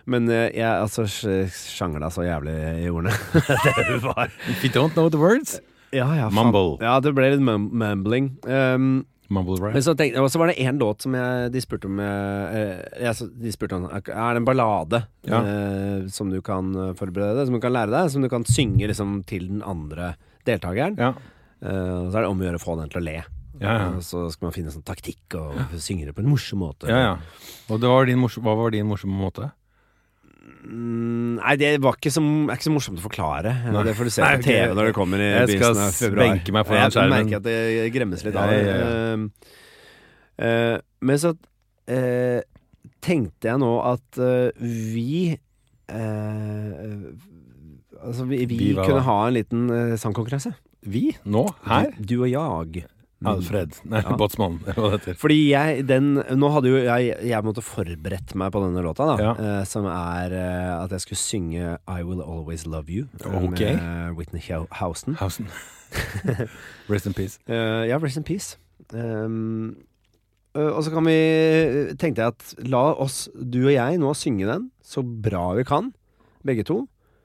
[SPEAKER 3] Men eh, jeg altså sj- sjangla så jævlig i ordene. det var
[SPEAKER 2] If you don't know the words
[SPEAKER 3] ja, ja, faen.
[SPEAKER 2] Mumble.
[SPEAKER 3] Ja, det ble litt mum mumbling. Um,
[SPEAKER 2] Mumble
[SPEAKER 3] men
[SPEAKER 2] rap.
[SPEAKER 3] så tenkte, og så var det én låt som jeg, de spurte om jeg, eh, jeg, så- De spurte om Er det en ballade
[SPEAKER 2] Ja.
[SPEAKER 3] eh, som du kan eh, forberede deg, som du kan lære deg, som du kan synge liksom, til den andre deltakeren?
[SPEAKER 2] Ja.
[SPEAKER 3] Eh, og så er det om å gjøre å få den til å le.
[SPEAKER 2] Ja, ja.
[SPEAKER 3] Og så skal man finne sånn taktikk og synge det på en morsom måte.
[SPEAKER 2] ja, ja. Og det var din morsom, hva var din morsomme måte?
[SPEAKER 3] Mm, nei, det var ikke så, er ikke så morsomt å forklare. Eh,
[SPEAKER 2] Nei.
[SPEAKER 3] Det får du se
[SPEAKER 2] Nei,
[SPEAKER 3] på
[SPEAKER 2] ok.
[SPEAKER 3] TV når det kommer i
[SPEAKER 2] Jeg skal
[SPEAKER 3] begynnelsen av februar.
[SPEAKER 2] benke meg foran
[SPEAKER 3] jeg
[SPEAKER 2] skjermen.
[SPEAKER 3] merker at det gremmes litt av
[SPEAKER 2] Ja,
[SPEAKER 3] det.
[SPEAKER 2] ja, ja.
[SPEAKER 3] Ehm, eh, men så eh, tenkte jeg nå at eh, vi eh, Altså, vi, vi,
[SPEAKER 2] Vi hva da?
[SPEAKER 3] kunne ha en liten eh, sangkonkurranse.
[SPEAKER 2] Vi? Nå? Her?
[SPEAKER 3] Du, du og jeg.
[SPEAKER 2] Alfred. Nei,
[SPEAKER 3] Ja.
[SPEAKER 2] Båtsmann, eller hva det heter.
[SPEAKER 3] Fordi jeg, den, nå hadde jo jeg, jeg måtte forberedt meg på denne låta da
[SPEAKER 2] Ja.
[SPEAKER 3] eh, Som er eh, at jeg skulle synge I Will Always Love You eh,
[SPEAKER 2] Ok.
[SPEAKER 3] Med Whitney Hou- Houston
[SPEAKER 2] Housen. Rest in peace.
[SPEAKER 3] Eh, Ja, rest in peace Ehm, eh, Og så kan vi, eh, tenkte jeg at La oss, du og jeg nå synge den Så bra vi kan, begge to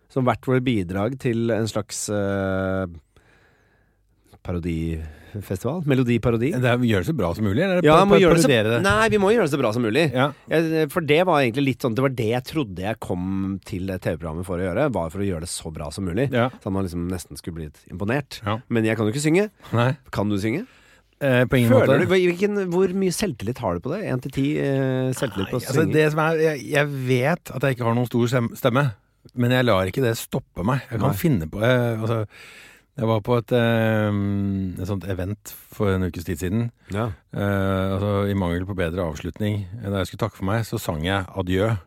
[SPEAKER 3] Som hvert vår bidrag til en slags eh, Parodifestival Melodiparodi
[SPEAKER 2] Det er, gjør det så bra som mulig, eller?
[SPEAKER 3] ja,
[SPEAKER 2] Pa-
[SPEAKER 3] må
[SPEAKER 2] pa-
[SPEAKER 3] gjøre det så,
[SPEAKER 2] parodiere
[SPEAKER 3] nei, vi må gjøre det så bra som mulig
[SPEAKER 2] Ja.
[SPEAKER 3] Jeg, for det var egentlig litt sånn Det var det jeg trodde jeg kom til det TV-programmet for å gjøre. Var for å gjøre det så bra som mulig.
[SPEAKER 2] ja.
[SPEAKER 3] Så at man liksom nesten skulle bli litt imponert.
[SPEAKER 2] Ja.
[SPEAKER 3] Men jeg kan jo ikke synge.
[SPEAKER 2] Nei.
[SPEAKER 3] Kan du synge?
[SPEAKER 2] Eh, på ingen måte.
[SPEAKER 3] Føler du, hvilken, hvor mye selvtillit har du på det? Én til ti eh, selvtillit på å
[SPEAKER 2] Nei, altså,
[SPEAKER 3] synge?
[SPEAKER 2] det som er, jeg, jeg vet at jeg ikke har noen stor stem- stemme, men jeg lar ikke det stoppe meg. Jeg kan
[SPEAKER 3] Nei.
[SPEAKER 2] finne på jeg, altså, jeg var på et, eh, et sånt event for en ukes tid siden.
[SPEAKER 3] ja.
[SPEAKER 2] Eh, altså, I mangel på bedre avslutning, eh, da jeg skulle takke for meg, så sang jeg adjø.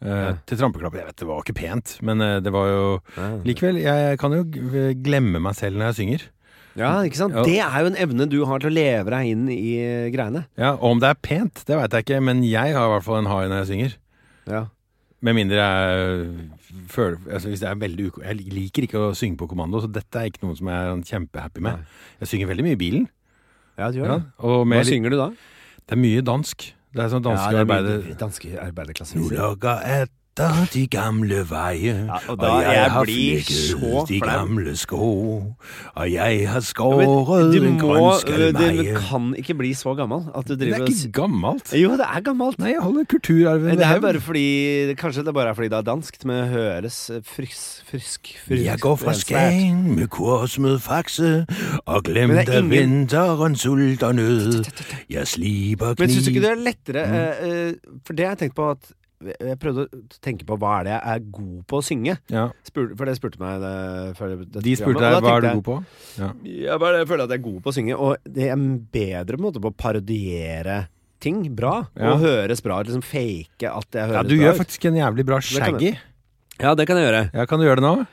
[SPEAKER 2] eh,
[SPEAKER 3] Ja.
[SPEAKER 2] til trampeklapper. Jeg vet, det var ikke pent, men eh, det var jo
[SPEAKER 3] Ja.
[SPEAKER 2] Likevel, jeg kan jo g- glemme meg selv når jeg synger.
[SPEAKER 3] Ja, ikke sant?
[SPEAKER 2] Ja.
[SPEAKER 3] Det er jo en evne du har til å leve deg inn i eh, greiene.
[SPEAKER 2] Ja, og Om det er pent, det veit jeg ikke, men jeg har i hvert fall en high når jeg synger.
[SPEAKER 3] Ja.
[SPEAKER 2] Med mindre jeg føler altså hvis det er veldig uko Jeg liker ikke å synge på kommando, så dette er ikke noe som jeg er sånn kjempehappy med.
[SPEAKER 3] Nei.
[SPEAKER 2] Jeg synger veldig mye i bilen.
[SPEAKER 3] ja, du gjør
[SPEAKER 2] Ja,
[SPEAKER 3] det.
[SPEAKER 2] og
[SPEAKER 3] Hva
[SPEAKER 2] med,
[SPEAKER 3] synger du da?
[SPEAKER 2] det er mye dansk. Det er sånn danske
[SPEAKER 3] ja,
[SPEAKER 2] arbeider...
[SPEAKER 3] Danske arbeiderklassemusikk.
[SPEAKER 2] Sola etter de gamle veier,
[SPEAKER 3] Ja, og da- jeg blir så
[SPEAKER 2] de
[SPEAKER 3] flau.
[SPEAKER 2] gamle sko, og jeg
[SPEAKER 3] Men
[SPEAKER 2] har skåret
[SPEAKER 3] du
[SPEAKER 2] en
[SPEAKER 3] må Du
[SPEAKER 2] grønnskallemeie.
[SPEAKER 3] kan ikke bli så gammel at du
[SPEAKER 2] Det er
[SPEAKER 3] driver
[SPEAKER 2] ikke gammelt.
[SPEAKER 3] Jo, det er gammelt.
[SPEAKER 2] Nei, jeg holder kulturarven
[SPEAKER 3] Men det
[SPEAKER 2] ved
[SPEAKER 3] er
[SPEAKER 2] hevn.
[SPEAKER 3] bare fordi Kanskje det bare er fordi det er danskt, men det høres frisk frisk, frisk
[SPEAKER 2] Jeg går fra
[SPEAKER 3] svært.
[SPEAKER 2] Skagen med kurs med fakse og
[SPEAKER 3] Men det
[SPEAKER 2] glemte
[SPEAKER 3] er ingen-
[SPEAKER 2] vinteren, sult og nød. Jeg sliper kniv
[SPEAKER 3] Men syns du ikke det er lettere eh, eh, For det har jeg tenkt på at eh, Jeg prøvde å tenke på hva er det jeg er god på å synge.
[SPEAKER 2] Ja,
[SPEAKER 3] Spur, for det spurte meg det, før dette
[SPEAKER 2] De spurte deg hva er du god på.
[SPEAKER 3] Jeg bare føler at jeg er god på å synge, og det er bedre på en måte på å parodiere ting bra.
[SPEAKER 2] Ja.
[SPEAKER 3] Og høres bra ut. Liksom fake at jeg høres
[SPEAKER 2] Ja, Du
[SPEAKER 3] bra
[SPEAKER 2] gjør
[SPEAKER 3] ut.
[SPEAKER 2] faktisk en jævlig bra
[SPEAKER 3] Det kan
[SPEAKER 2] shaggy.
[SPEAKER 3] Ja, det kan jeg gjøre.
[SPEAKER 2] Ja, Kan du gjøre det nå?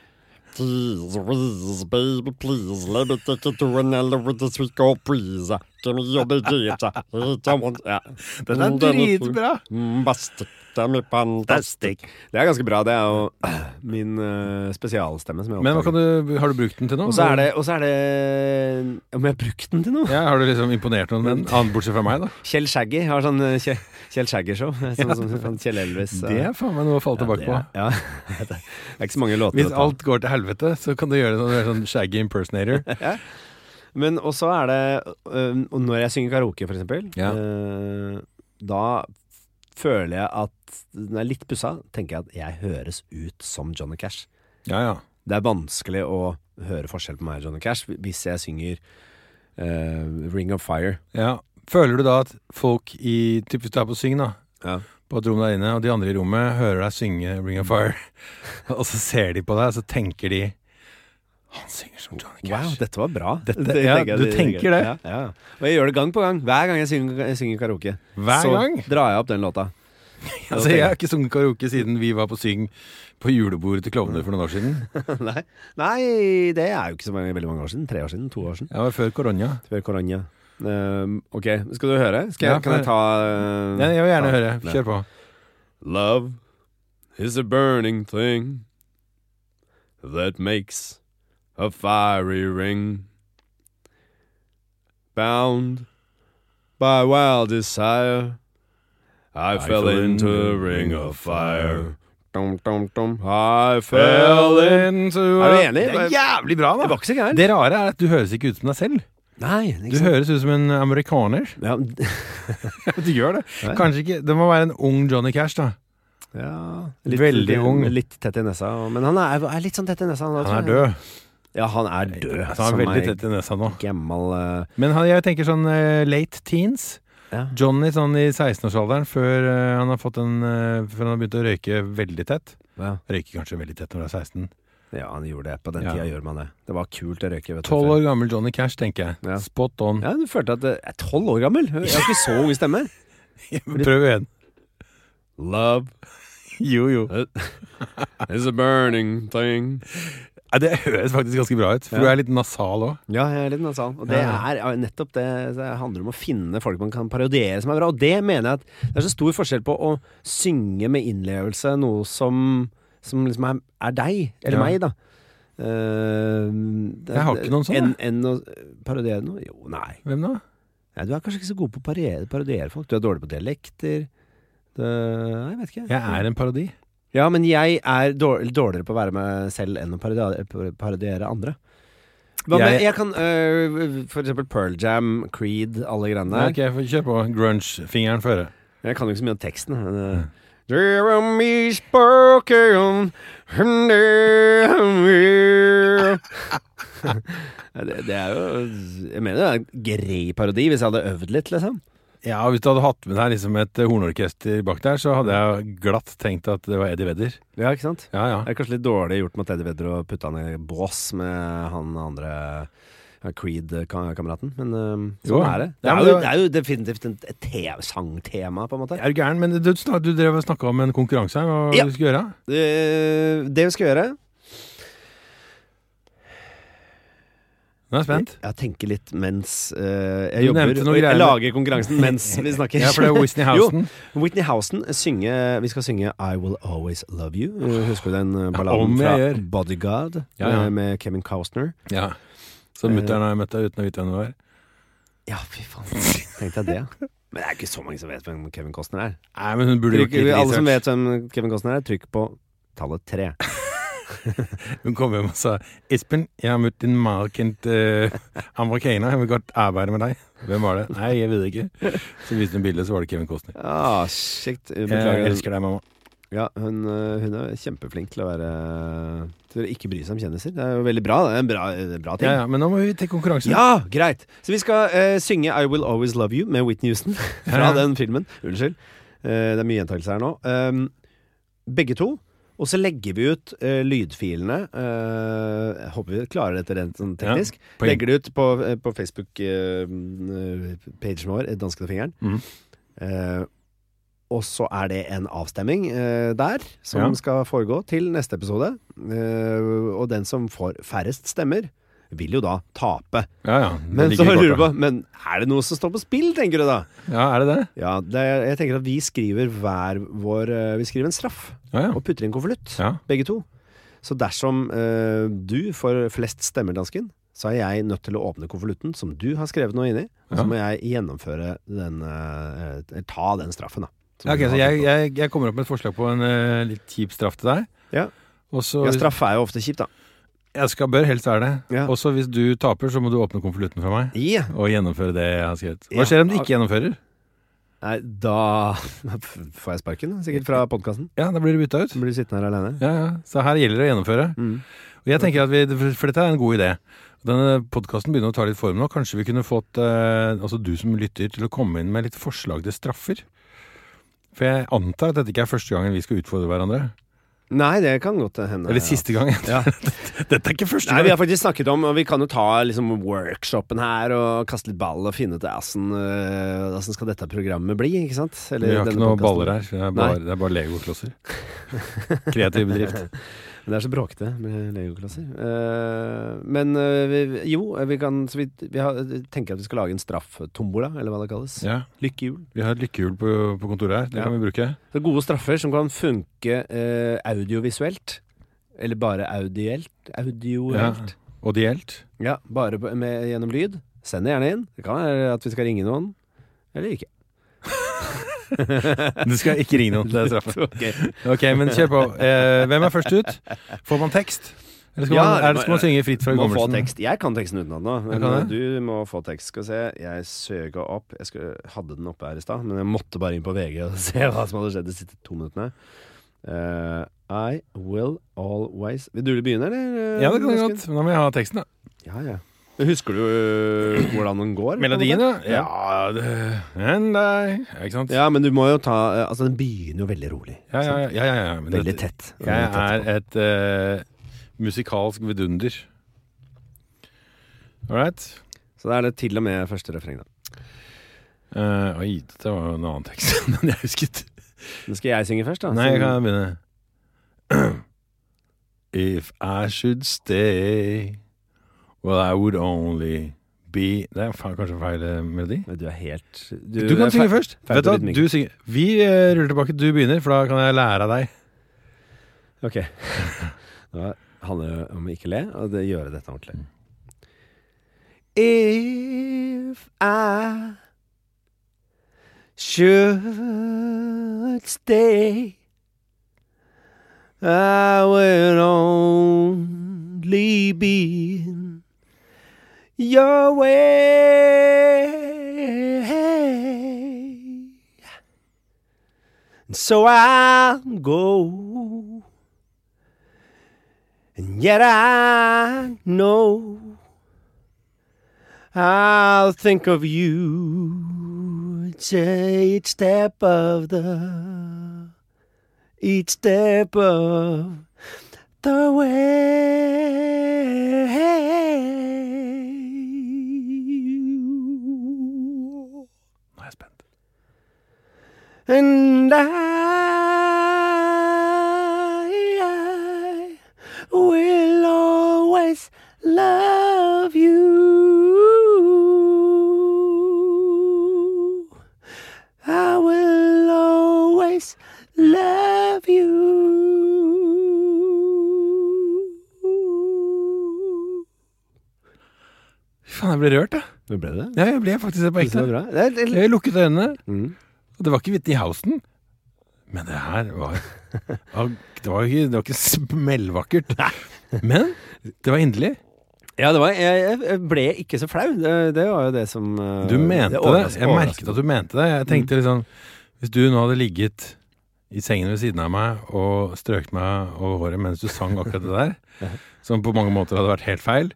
[SPEAKER 4] Please, please, baby, please, let me take you to another with this week, oh, please. Give me your data. Don't want, ja.
[SPEAKER 2] Den Oh, er dritbra!
[SPEAKER 3] Mm,
[SPEAKER 4] Bastic, damn it, fantastic.
[SPEAKER 3] Det er ganske bra. Det er jo min eh, spesialstemme som jeg
[SPEAKER 2] Men hva kan
[SPEAKER 3] oppdager.
[SPEAKER 2] du, har du brukt den til noe?
[SPEAKER 3] Og så er det, og så er det Om jeg har brukt den til noe?
[SPEAKER 2] Ja, Har du liksom imponert noen med den? Annet bortsett fra meg, da.
[SPEAKER 3] Kjell Shaggy har sånn eh, Kjell, Kjell Shaggy-show. Sånn som sånn Kjell Elvis. eh.
[SPEAKER 2] Det er faen meg noe å falle
[SPEAKER 3] Ja,
[SPEAKER 2] tilbake
[SPEAKER 3] det er-
[SPEAKER 2] på.
[SPEAKER 3] Ja, det er ikke så mange låter. å
[SPEAKER 2] Hvis
[SPEAKER 3] ta.
[SPEAKER 2] alt går til helvete, så kan du gjøre sånn, du er sånn shaggy impersonator.
[SPEAKER 3] Men også er det øhm, Og når jeg synger karaoke, for eksempel,
[SPEAKER 2] Ja.
[SPEAKER 3] øh, da føler jeg at Når jeg er litt pussa, tenker jeg at jeg høres ut som Johnny Cash.
[SPEAKER 2] Ja, ja.
[SPEAKER 3] Det er vanskelig å høre forskjell på meg og Johnny Cash hvis jeg synger øh, Ring of Fire.
[SPEAKER 2] ja. Føler du da at folk i typ Hvis du er på syng, da.
[SPEAKER 3] Ja.
[SPEAKER 2] På et rom der inne, og de andre i rommet hører deg synge Ring of Fire. og så ser de på deg, og så tenker de Han synger som Johnny
[SPEAKER 3] Wow,
[SPEAKER 2] Cash.
[SPEAKER 3] dette var bra.
[SPEAKER 2] Dette-
[SPEAKER 3] Det
[SPEAKER 2] ja,
[SPEAKER 3] jeg-
[SPEAKER 2] du tenker det.
[SPEAKER 3] Ja, ja. Og jeg gjør det gang på gang. Hver gang jeg synger, jeg synger karaoke,
[SPEAKER 2] Hver
[SPEAKER 3] så
[SPEAKER 2] gang.
[SPEAKER 3] drar jeg opp den låta.
[SPEAKER 2] Altså, jeg har ikke sunget karaoke siden vi var på syng på julebordet til Klovner for noen år siden.
[SPEAKER 3] Nei. Nei, det er jo ikke så mange, veldig mange år siden. Tre år siden, to år siden.
[SPEAKER 2] Jeg var før korona.
[SPEAKER 3] Før korona. Ehm, ok, skal du høre? Skal jeg,
[SPEAKER 2] Ja,
[SPEAKER 3] kan jeg ta eh,
[SPEAKER 2] Mm. Ja, jeg vil gjerne
[SPEAKER 3] ta-
[SPEAKER 2] høre. Kjør på.
[SPEAKER 3] Love is a burning thing that makes a fiery ring. Bound by wild desire, I, fell into a ring of fire. Dum, dum, dum. I fell in Er du enig?
[SPEAKER 2] Det er jævlig bra, da.
[SPEAKER 3] ikke så gærent.
[SPEAKER 2] Det rare er at du høres ikke ut som deg selv.
[SPEAKER 3] Nei,
[SPEAKER 2] Du høres ut som en amerikaner.
[SPEAKER 3] Ja,
[SPEAKER 2] Du gjør det.
[SPEAKER 3] Nei.
[SPEAKER 2] Kanskje ikke Det må være en ung Johnny Cash, da.
[SPEAKER 3] Ja,
[SPEAKER 2] Veldig ung.
[SPEAKER 3] Litt tett i nesa. og- Men han er, er litt sånn tett i nesa.
[SPEAKER 2] Han
[SPEAKER 3] tror
[SPEAKER 2] er
[SPEAKER 3] jeg.
[SPEAKER 2] død.
[SPEAKER 3] Ja, han er død.
[SPEAKER 2] Så han er veldig tett i nesa nå.
[SPEAKER 3] Gammel eh,
[SPEAKER 2] Men han, jeg tenker sånn eh, late teens.
[SPEAKER 3] ja.
[SPEAKER 2] Johnny sånn i 16-årsalderen før eh, han har fått en eh, Før han har begynt å røyke veldig tett.
[SPEAKER 3] Ja.
[SPEAKER 2] Røyker kanskje veldig tett når du er 16.
[SPEAKER 3] ja, han gjorde det. På den
[SPEAKER 2] Ja.
[SPEAKER 3] tida gjør man det. Det var kult å røyke. vet du,
[SPEAKER 2] 12
[SPEAKER 3] før.
[SPEAKER 2] år gammel Johnny Cash, tenker jeg.
[SPEAKER 3] Ja.
[SPEAKER 2] Spot on.
[SPEAKER 3] Ja, du følte at det- Jeg er tolv år gammel! Jeg har ikke så ung stemme.
[SPEAKER 2] Prøv igjen.
[SPEAKER 4] Love
[SPEAKER 2] Jo, jo.
[SPEAKER 4] is a burning thing.
[SPEAKER 2] Ja, det høres faktisk ganske bra ut, for
[SPEAKER 3] Ja.
[SPEAKER 2] du er litt nasal òg.
[SPEAKER 3] Ja, jeg er litt nasal. Og det
[SPEAKER 2] Ja.
[SPEAKER 3] er ja, nettopp det det handler om å finne folk man kan parodiere som er bra. Og det mener jeg at det er så stor forskjell på å synge med innlevelse noe som, som liksom er, er deg, eller
[SPEAKER 2] Ja.
[SPEAKER 3] meg, da. Eh, det-
[SPEAKER 2] Jeg har ikke noen sånn,
[SPEAKER 3] Enn enn å parodiere noe? Jo, nei.
[SPEAKER 2] Hvem da?
[SPEAKER 3] Nei, du er kanskje ikke så god på å parodiere, parodiere folk. Du er dårlig på dialekter. Det, nei, jeg vet ikke.
[SPEAKER 2] Jeg er en parodi.
[SPEAKER 3] Ja, men jeg er dår- dårligere på å være meg selv enn å parodiere, parodiere andre. Hva med,
[SPEAKER 2] Jeg-
[SPEAKER 3] jeg kan øh, for eksempel Pearl Jam, Creed, alle greiene
[SPEAKER 2] Nei,
[SPEAKER 3] der.
[SPEAKER 2] ok, får kjør på. Grunge-fingeren føre.
[SPEAKER 3] Jeg kan jo ikke så mye om teksten. Men, øh, Jeremy spoken and I- det, det er jo Jeg mener det er en grei parodi, hvis jeg hadde øvd litt, liksom.
[SPEAKER 2] Ja, hvis du hadde hatt med deg liksom et eh, hornorkester bak der, så hadde jeg glatt tenkt at det var Eddie Vedder.
[SPEAKER 3] Ja, ikke sant?
[SPEAKER 2] Ja, ja.
[SPEAKER 3] Det er kanskje litt dårlig gjort mot Eddie Vedder å putte han i bås med han andre Ja, Creed-kameraten. Men øhm,
[SPEAKER 2] Jo,
[SPEAKER 3] sånn
[SPEAKER 2] ja.
[SPEAKER 3] er det. Det
[SPEAKER 2] Ja,
[SPEAKER 3] er,
[SPEAKER 2] men
[SPEAKER 3] jo,
[SPEAKER 2] det var-
[SPEAKER 3] det er jo definitivt en- et te- sangtema, på en måte.
[SPEAKER 2] Er du gæren? Men du, snak- du drev og snakka om en konkurranse her. Hva
[SPEAKER 3] Ja.
[SPEAKER 2] du skulle gjøre?
[SPEAKER 3] Eh, det vi skal gjøre
[SPEAKER 2] Nå er jeg spent.
[SPEAKER 3] Jeg tenker litt mens eh, jeg
[SPEAKER 2] Du
[SPEAKER 3] jobber.
[SPEAKER 2] nevnte noen
[SPEAKER 3] og Jeg
[SPEAKER 2] greier.
[SPEAKER 3] lager konkurransen mens vi snakker.
[SPEAKER 2] Ja, for det er Whitney Houston.
[SPEAKER 3] Jo, Whitney Houston synge, Vi skal synge I Will Always Love You. Eh, Husker du den eh, balladen
[SPEAKER 2] om jeg
[SPEAKER 3] fra
[SPEAKER 2] gjør.
[SPEAKER 3] Bodyguard
[SPEAKER 2] Ja, ja.
[SPEAKER 3] eh, med Kevin Costner?
[SPEAKER 2] Ja. Så
[SPEAKER 3] Eh.
[SPEAKER 2] mutter'n har jeg møtt deg uten å vite hvem du er.
[SPEAKER 3] Ja, fy faen. Tenkte jeg det, ja. Men det er ikke så mange som vet hvem Kevin Costner er.
[SPEAKER 2] Nei, men hun burde gjort
[SPEAKER 3] Trykk,
[SPEAKER 2] litt
[SPEAKER 3] alle som
[SPEAKER 2] research.
[SPEAKER 3] vet hvem Kevin Costner er, trykk på tallet tre.
[SPEAKER 2] Hun kom hjem og sa 'Espen, jeg har møtt din markant uh, amerikaner. Jeg vil godt arbeide med deg.' Hvem var det? Nei, jeg vet ikke. Så viste hun bildet, så var det Kevin Costner.
[SPEAKER 3] Ja, kjekt.
[SPEAKER 2] Jeg
[SPEAKER 3] Beklager.
[SPEAKER 2] elsker deg, mamma.
[SPEAKER 3] Eh, Ja, hun, eh, hun er kjempeflink til å være Til å ikke bry seg om kjendiser. Det er jo veldig bra. Det er en bra, det er en bra ting.
[SPEAKER 2] Ja, ja, men nå må vi til konkurransen.
[SPEAKER 3] Ja, greit. Så vi skal eh, synge I Will Always Love You med Whitney Houston fra
[SPEAKER 2] Ja.
[SPEAKER 3] den filmen. Unnskyld. Eh, det er mye gjentakelse her nå. Um, begge to. Og så legger vi ut eh, lydfilene. eh, jeg håper vi klarer dette rent sånn
[SPEAKER 2] Ja,
[SPEAKER 3] teknisk.
[SPEAKER 2] poeng.
[SPEAKER 3] legger det ut på, eh, på eh, Facebook-pagen vår, eh, Dansken og fingeren.
[SPEAKER 2] Mhm.
[SPEAKER 3] Eh, og så er det en avstemning eh, der, som
[SPEAKER 2] Ja.
[SPEAKER 3] skal foregå til neste episode. Eh, og den som får færrest stemmer, vil jo da tape.
[SPEAKER 2] ja, ja det
[SPEAKER 3] Men
[SPEAKER 2] ligger
[SPEAKER 3] så
[SPEAKER 2] i
[SPEAKER 3] lurer du på
[SPEAKER 2] korta.
[SPEAKER 3] Men er det noe som står på spill, tenker du da?
[SPEAKER 2] Ja, er det det?
[SPEAKER 3] Ja, det er, jeg tenker at vi skriver hver vår eh, Vi skriver en straff
[SPEAKER 2] Ja, ja.
[SPEAKER 3] og putter i en konvolutt,
[SPEAKER 2] ja.
[SPEAKER 3] begge to. Så dersom eh, du får flest stemmer, dansken, så er jeg nødt til å åpne konvolutten som du har skrevet noe inni, og
[SPEAKER 2] Ja.
[SPEAKER 3] så må jeg gjennomføre den eh, eh, Ta den straffen, da. som
[SPEAKER 2] Ja, ok,
[SPEAKER 3] du
[SPEAKER 2] så
[SPEAKER 3] har
[SPEAKER 2] jeg,
[SPEAKER 3] tenkt på.
[SPEAKER 2] jeg, jeg kommer opp med et forslag på en eh, litt kjip straff til deg.
[SPEAKER 3] Ja.
[SPEAKER 2] Og så
[SPEAKER 3] ja, straff er jo ofte kjipt, da.
[SPEAKER 2] Jeg skal, bør helst være det.
[SPEAKER 3] Ja.
[SPEAKER 2] Og så hvis du taper, så må du åpne konvolutten for meg.
[SPEAKER 3] Ja.
[SPEAKER 2] Og gjennomføre det jeg har skrevet.
[SPEAKER 3] Ja.
[SPEAKER 2] Hva skjer om du ikke gjennomfører?
[SPEAKER 3] Nei, da får jeg sparken, da, sikkert fra podkasten.
[SPEAKER 2] Ja, da blir du bytta ut.
[SPEAKER 3] Blir du sittende her aleine.
[SPEAKER 2] Ja, ja. Så her gjelder det å gjennomføre.
[SPEAKER 3] Mm.
[SPEAKER 2] Og jeg tenker at vi, For dette er en god idé. Denne podkasten begynner å ta litt form nå. Kanskje vi kunne fått eh, altså du som lytter til å komme inn med litt forslag til straffer? For jeg antar at dette ikke er første gangen vi skal utfordre hverandre.
[SPEAKER 3] Nei, det kan godt hende. ja.
[SPEAKER 2] Eller siste gang. dette er ikke første
[SPEAKER 3] Nei, vi
[SPEAKER 2] gang.
[SPEAKER 3] har faktisk snakket om, og vi kan jo ta liksom workshopen her og kaste litt ball og finne ut åssen øh, åssen skal dette programmet bli, ikke sant?
[SPEAKER 2] Vi har ikke noen baller her. Det er bare,
[SPEAKER 3] Nei.
[SPEAKER 2] det er bare legoklosser. Kreativ bedrift.
[SPEAKER 3] Det er så bråkete med legoklasser. Eh, men øh, vi, jo, vi kan så vi, vi har, tenker at vi skal lage en strafftombola, eller hva det kalles.
[SPEAKER 2] Ja.
[SPEAKER 3] Lykkehjul.
[SPEAKER 2] Vi har et lykkehjul på, på kontoret her. Det
[SPEAKER 3] Ja.
[SPEAKER 2] kan vi bruke.
[SPEAKER 3] Så gode straffer som kan funke eh, audiovisuelt. Eller bare audielt. Audioelt.
[SPEAKER 2] Og det gjelder.
[SPEAKER 3] Ja, bare på- med, gjennom lyd. Send det gjerne inn. Det kan være at vi skal ringe noen. Eller ikke.
[SPEAKER 2] Du skal ikke ringe noen til det straffen.
[SPEAKER 3] Ok.
[SPEAKER 2] Ok, men kjør på. Eh, hvem er først ut? Får man tekst? Eller skal
[SPEAKER 3] Ja,
[SPEAKER 2] man,
[SPEAKER 3] det
[SPEAKER 2] er det, skal man
[SPEAKER 3] må-
[SPEAKER 2] synge fritt fra
[SPEAKER 3] Må få
[SPEAKER 2] hukommelsen?
[SPEAKER 3] tekst. Jeg kan teksten utenat nå, men
[SPEAKER 2] kan
[SPEAKER 3] eh, du må få tekst. Skal vi se, jeg søka opp Jeg skulle, hadde den oppe her i stad, men jeg måtte bare inn på VG og se hva som hadde skjedd de siste to minuttene. Eh, I will always Vil du begynne, eller? eh,
[SPEAKER 2] Ja, det kan du
[SPEAKER 3] Esken?
[SPEAKER 2] godt. Men da må jeg ha teksten, da.
[SPEAKER 3] Ja, ja. Husker du eh, hvordan den går? på en
[SPEAKER 2] Melodien,
[SPEAKER 3] måte?
[SPEAKER 2] da? Ja, det Enn deg Ja, Ikke sant? Ja,
[SPEAKER 3] Ja, men du må jo ta eh, Altså, den begynner jo veldig rolig.
[SPEAKER 2] ja, ja. ja, ja, ja. Men
[SPEAKER 3] Veldig
[SPEAKER 2] dette-
[SPEAKER 3] tett.
[SPEAKER 2] jeg
[SPEAKER 3] Veldig tett
[SPEAKER 2] er et eh, musikalsk vidunder. All right.
[SPEAKER 3] på. Så da er det til og med første refreng, da.
[SPEAKER 2] Eh, oi, dette var jo en annen tekst enn jeg husket.
[SPEAKER 3] Men skal jeg synge først, da? Så-
[SPEAKER 2] Nei, jeg kan begynne. If I should stay, well I would only be Det er fa- kanskje feil eh, melodi?
[SPEAKER 3] Men Du er helt
[SPEAKER 2] Du, kan
[SPEAKER 3] er
[SPEAKER 2] synge
[SPEAKER 3] fe-
[SPEAKER 2] først.
[SPEAKER 3] feil
[SPEAKER 2] Vet du
[SPEAKER 3] på
[SPEAKER 2] hva,
[SPEAKER 3] rytmikken.
[SPEAKER 2] du synger. Vi eh, ruller tilbake, du begynner, for da kan jeg lære av deg.
[SPEAKER 3] Ok. Det handler det om å ikke le, og det gjøre dette ordentlig. If I should stay I will only be your way So I'll go And yet I know I'll think of you to each step of the each step of the way. always love you. I will always love you.
[SPEAKER 2] Fy faen, jeg ble rørt, da.
[SPEAKER 3] Nå ble det.
[SPEAKER 2] Ja, jeg ble faktisk det på
[SPEAKER 3] Synes du det
[SPEAKER 2] ekte.
[SPEAKER 3] var bra? Det er, det er,
[SPEAKER 2] Jeg lukket øynene,
[SPEAKER 3] Mm.
[SPEAKER 2] og det var ikke Whitney Houston. Men det her var var- Det var ikke, det var ikke smellvakkert. Men det var inderlig.
[SPEAKER 3] Ja, det var, jeg, jeg- jeg ble ikke så flau. Det, det var jo det Mm. som eh,
[SPEAKER 2] Du mente det.
[SPEAKER 3] overrasket-
[SPEAKER 2] Jeg merket at du mente det. Jeg tenkte liksom Hvis du nå hadde ligget i sengen ved siden av meg og strøket meg over håret mens du sang akkurat det der, som på mange måter hadde vært helt feil,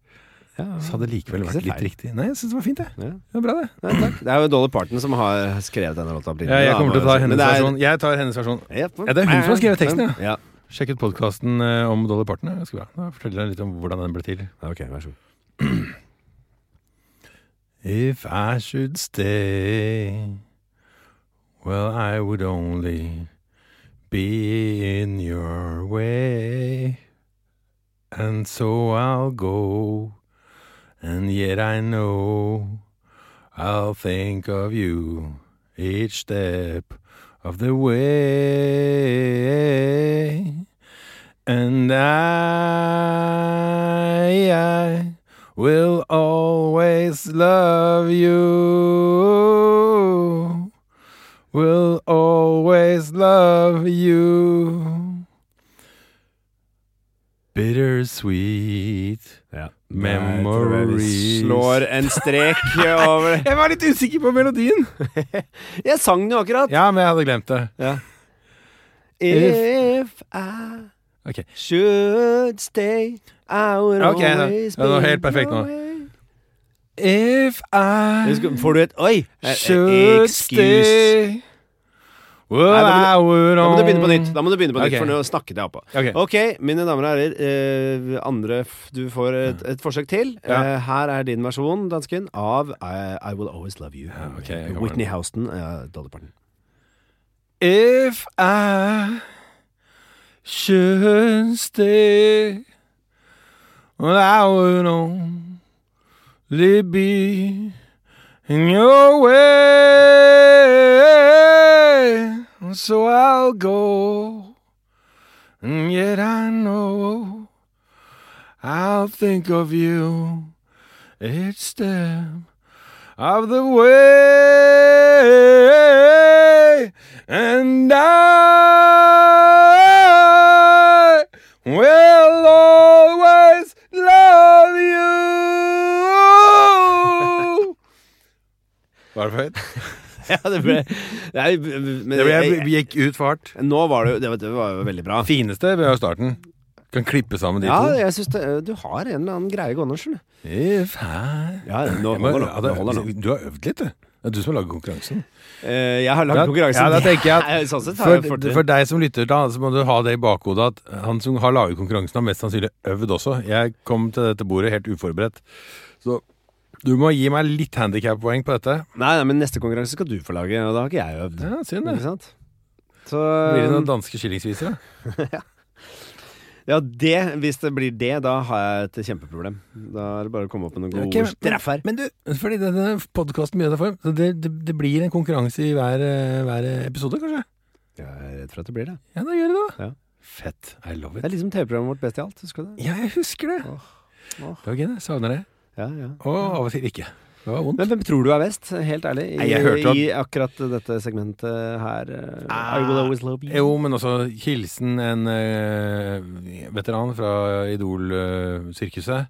[SPEAKER 3] Ja.
[SPEAKER 2] så hadde det likevel
[SPEAKER 3] Ikke så
[SPEAKER 2] vært litt
[SPEAKER 3] feil.
[SPEAKER 2] riktig. Nei, jeg syns det var fint, det.
[SPEAKER 3] Ja.
[SPEAKER 2] Det var bra, det.
[SPEAKER 3] Nei, takk. Det er jo Dolly Parton som har skrevet denne låta. opprinnelig,
[SPEAKER 2] Ja, jeg
[SPEAKER 3] da,
[SPEAKER 2] kommer til å
[SPEAKER 3] må
[SPEAKER 2] ta
[SPEAKER 3] jeg si. Men
[SPEAKER 2] hennes
[SPEAKER 3] det er-
[SPEAKER 2] versjon. Jeg tar hennes versjon.
[SPEAKER 3] Ja,
[SPEAKER 2] Ja, det er hun som har skrevet teksten, ja.
[SPEAKER 3] ja.
[SPEAKER 2] Sjekk ut podkasten om Dolly Parton. eh, ja. Ganske bra. Da forteller jeg litt om hvordan den ble til.
[SPEAKER 3] Ja, ok, vær så god.
[SPEAKER 2] If I should stay, well, I would only be in your way. And so I'll go, and yet I know I'll think of you each step of the way. And I, I will always love you. Will always love you. Bittersweet.
[SPEAKER 3] Ja.
[SPEAKER 2] Memories.
[SPEAKER 3] Jeg tror jeg vi slår en strek over det.
[SPEAKER 2] Jeg var litt usikker på melodien!
[SPEAKER 3] Jeg sang den jo akkurat.
[SPEAKER 2] Ja, men jeg hadde glemt det.
[SPEAKER 3] Ja. If I
[SPEAKER 2] Ok.
[SPEAKER 3] should stay, I would
[SPEAKER 2] Ok, da.
[SPEAKER 3] always
[SPEAKER 2] Ja, det var helt
[SPEAKER 3] be
[SPEAKER 2] perfekt nå.
[SPEAKER 3] your way.
[SPEAKER 2] If I
[SPEAKER 3] Husk, Får du et Oi! eh, eh,
[SPEAKER 2] should
[SPEAKER 3] Excuse.
[SPEAKER 2] stay Well,
[SPEAKER 3] Nei, da
[SPEAKER 2] I would
[SPEAKER 3] Da må du begynne på
[SPEAKER 2] only-
[SPEAKER 3] nytt, Da må du begynne på nytt for
[SPEAKER 2] Ok.
[SPEAKER 3] nå snakket jeg oppå.
[SPEAKER 2] Ok.
[SPEAKER 3] Ok, mine damer og herrer. eh, andre f Du får et, et forsøk til.
[SPEAKER 2] Ja.
[SPEAKER 3] Eh, her er din versjon, dansken, av I, I Will Always Love You.
[SPEAKER 2] ok, jeg kommer.
[SPEAKER 3] Whitney Houston. eh, Dolly Parton.
[SPEAKER 2] If I should stay, well, I would only be in your way. So I'll go, and yet I know I'll think of you each step of the way, and I will always love you. Var det for høyt?
[SPEAKER 3] ja, det ble Nei, men-
[SPEAKER 2] Det ble, jeg gikk ut for hardt.
[SPEAKER 3] Nå var det jo det, var- det var jo veldig bra.
[SPEAKER 2] Fineste ved starten. Kan klippe sammen de
[SPEAKER 3] Ja,
[SPEAKER 2] to.
[SPEAKER 3] jeg synes det, eh, du har en eller annen greie gående, skjønner du.
[SPEAKER 2] If I
[SPEAKER 3] Ja, nå
[SPEAKER 2] Jeg må-
[SPEAKER 3] holder nå,
[SPEAKER 2] ja,
[SPEAKER 3] nå holder nå.
[SPEAKER 2] det- Du har øvd litt, du. Det er du som har laget konkurransen.
[SPEAKER 3] Eh, Jeg har lagd
[SPEAKER 2] Da-
[SPEAKER 3] konkurransen.
[SPEAKER 2] ja, da tenker jeg at-
[SPEAKER 3] Det er- Sånn sett har jeg
[SPEAKER 2] For,
[SPEAKER 3] fortrinn.
[SPEAKER 2] for deg som lytter, da, så må du ha det i bakhodet at han som har laget konkurransen, har mest sannsynlig øvd også. Jeg kom til dette bordet helt uforberedt. Så du må gi meg litt handikappoeng på dette.
[SPEAKER 3] Nei, nei, men neste konkurranse skal du få lage, og da har ikke jeg øvd.
[SPEAKER 2] Ja, synd
[SPEAKER 3] Ikke
[SPEAKER 2] det.
[SPEAKER 3] sant? Så
[SPEAKER 2] Blir det noen danske skillingsviser, da?
[SPEAKER 3] Ja, det, hvis det blir det, da har jeg et kjempeproblem. Da er det bare å komme opp med noen gode
[SPEAKER 2] Ok, men-
[SPEAKER 3] treff her.
[SPEAKER 2] Men du, fordi denne podkasten begynner for så det, det, det blir en konkurranse i hver, eh, hver episode, kanskje?
[SPEAKER 3] Jeg er redd for at det blir det.
[SPEAKER 2] Ja, da gjør det, da.
[SPEAKER 3] Ja.
[SPEAKER 2] Fett. I love
[SPEAKER 3] Det
[SPEAKER 2] it.
[SPEAKER 3] er liksom TV-programmet vårt Best i alt, husker du det?
[SPEAKER 2] Ja, jeg husker det.
[SPEAKER 3] Åh, åh.
[SPEAKER 2] Det var gøy, det. Savner det.
[SPEAKER 3] Ja, ja.
[SPEAKER 2] Og av og til ikke. Det var vondt.
[SPEAKER 3] Men hvem tror du er best, helt ærlig, i,
[SPEAKER 2] Nei, jeg hørte at- Ah,
[SPEAKER 3] i akkurat dette segmentet her? eh, I will always love you.
[SPEAKER 2] Jo, men også hilsen en eh, veteran fra Idol-sirkuset.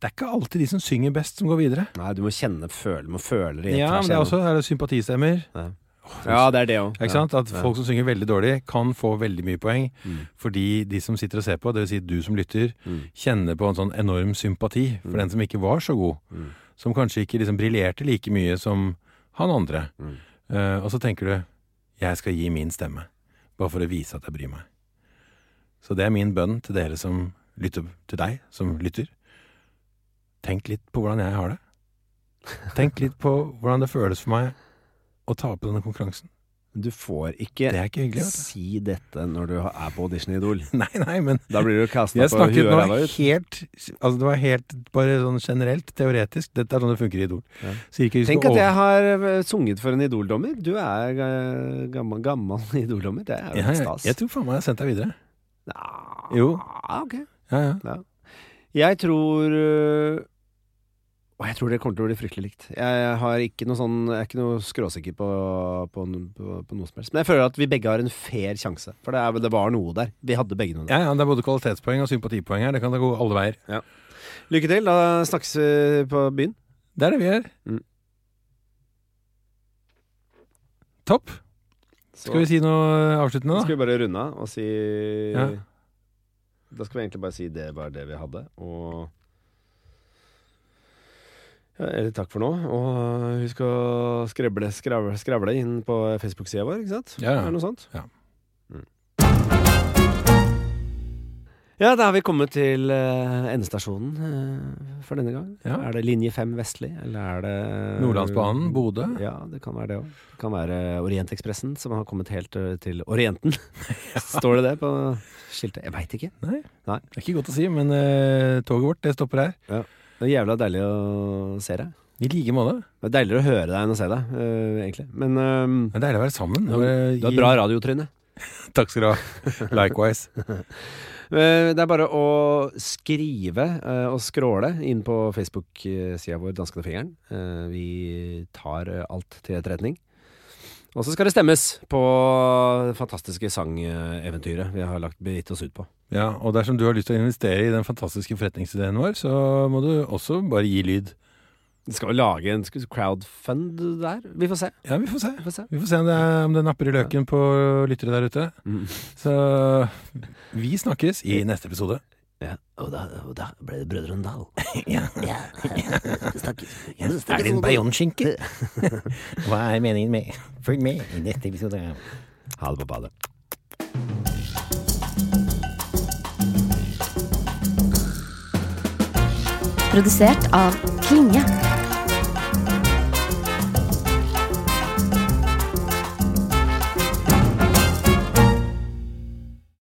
[SPEAKER 2] det er ikke alltid de som synger best, som går videre.
[SPEAKER 3] Nei, du må kjenne, føle, må føle det. i
[SPEAKER 2] Ja,
[SPEAKER 3] tvers
[SPEAKER 2] men det er
[SPEAKER 3] igjennom.
[SPEAKER 2] også er det sympatistemmer.
[SPEAKER 3] Ja, det er det òg.
[SPEAKER 2] Ikke sant? At folk som synger veldig dårlig, kan få veldig mye poeng. Fordi de som sitter og ser på, dvs. Si du som lytter, kjenner på en sånn enorm sympati for den som ikke var så god. Som kanskje ikke liksom briljerte like mye som han andre. Eh, og så tenker du 'jeg skal gi min stemme', bare for å vise at jeg bryr meg. Så det er min bønn til dere som lytter, til deg som lytter. Tenk litt på hvordan jeg har det. Tenk litt på hvordan det føles for meg å tape denne konkurransen.
[SPEAKER 3] Du får ikke
[SPEAKER 2] Det er ikke hyggelig, vet du.
[SPEAKER 3] si dette når du er på audition i Idol.
[SPEAKER 2] Nei, nei, men altså,
[SPEAKER 3] Da blir du kasta
[SPEAKER 2] jeg
[SPEAKER 3] på huet
[SPEAKER 2] snakket
[SPEAKER 3] og
[SPEAKER 2] nå
[SPEAKER 3] ræva ut.
[SPEAKER 2] helt Altså, det var helt bare sånn generelt, teoretisk. Dette er sånn det funker i Idol. Så ikke vi skal
[SPEAKER 3] Tenk at
[SPEAKER 2] over-
[SPEAKER 3] jeg har eh, sunget for en Idol-dommer. Du er eh, gammel, gammel Idol-dommer. Det er jo
[SPEAKER 2] ja,
[SPEAKER 3] helt
[SPEAKER 2] jeg,
[SPEAKER 3] stas.
[SPEAKER 2] jeg tror faen meg jeg har sendt deg videre.
[SPEAKER 3] Nja,
[SPEAKER 2] Jo.
[SPEAKER 3] ok.
[SPEAKER 2] Ja, ja.
[SPEAKER 3] Jeg tror øh, Åh, Jeg tror det kommer til å bli fryktelig likt. Jeg, har ikke noe sånn, jeg er ikke noe skråsikker på, på, no- på, på noe som helst. Men jeg føler at vi begge har en fair sjanse. For det, er, det var noe der. Vi hadde begge noe der.
[SPEAKER 2] Ja, ja, Det er både kvalitetspoeng og sympatipoeng her. Det kan da gå alle veier.
[SPEAKER 3] Lykke til. Da snakkes vi på byen.
[SPEAKER 2] Det er det vi gjør.
[SPEAKER 3] Mm.
[SPEAKER 2] Topp.
[SPEAKER 3] Så
[SPEAKER 2] Skal vi si noe avsluttende, da?
[SPEAKER 3] skal vi bare runde av og si
[SPEAKER 2] Ja.
[SPEAKER 3] Da skal vi egentlig bare si det var det vi hadde, og ja, Eller takk for nå. Og husk å skreble, skravle, skravle inn på Facebook-sida vår, ikke sant?
[SPEAKER 2] Ja, ja.
[SPEAKER 3] Er det noe sånt?
[SPEAKER 2] Ja.
[SPEAKER 3] Mm. Ja, da har vi kommet til eh, endestasjonen eh, for denne gang.
[SPEAKER 2] Ja.
[SPEAKER 3] Er det linje 5 Vestli, eller er det
[SPEAKER 2] Nordlandsbanen, Bodø.
[SPEAKER 3] ja, det kan være det òg. Det kan være Orientekspressen, som har kommet helt ø, til Orienten. Står det det på skiltet? Jeg veit ikke.
[SPEAKER 2] Nei.
[SPEAKER 3] Nei.
[SPEAKER 2] Det er ikke godt å si, men eh, toget vårt det stopper her.
[SPEAKER 3] Det er jævla deilig å se deg.
[SPEAKER 2] I like måte.
[SPEAKER 3] Det er deiligere å høre deg enn å se deg, ø, egentlig. Men ø,
[SPEAKER 2] Det er deilig å være sammen. eh,
[SPEAKER 3] Ja, du
[SPEAKER 2] Bare
[SPEAKER 3] har
[SPEAKER 2] gi-
[SPEAKER 3] bra radiotryne.
[SPEAKER 2] Takk skal du ha. Likewise.
[SPEAKER 3] Eh, Det er bare å skrive eh, og skråle inn på Facebook-sida vår, Danskende fingeren. Eh, Vi tar eh, alt til etterretning. Og så skal det stemmes på det fantastiske sangeventyret vi har lagt begitt oss ut på.
[SPEAKER 2] Ja, og dersom du har lyst til å investere i den fantastiske forretningsideen vår, så må du også bare gi lyd.
[SPEAKER 3] Vi skal jo lage en sk- crowdfund der. Vi får se.
[SPEAKER 2] Ja, vi får se.
[SPEAKER 3] Vi får se.
[SPEAKER 2] Vi får se om det, er, om det napper i løken på lyttere der ute.
[SPEAKER 3] Mm.
[SPEAKER 2] Så vi snakkes i neste episode.
[SPEAKER 3] Ja. Og, da, og da ble det Brødrene Dal.
[SPEAKER 2] Er
[SPEAKER 3] liksom
[SPEAKER 2] det en bayonskinke? Hva er meningen med Følg med i neste episode.
[SPEAKER 3] Ha det på badet.
[SPEAKER 5] Produsert av Klinge.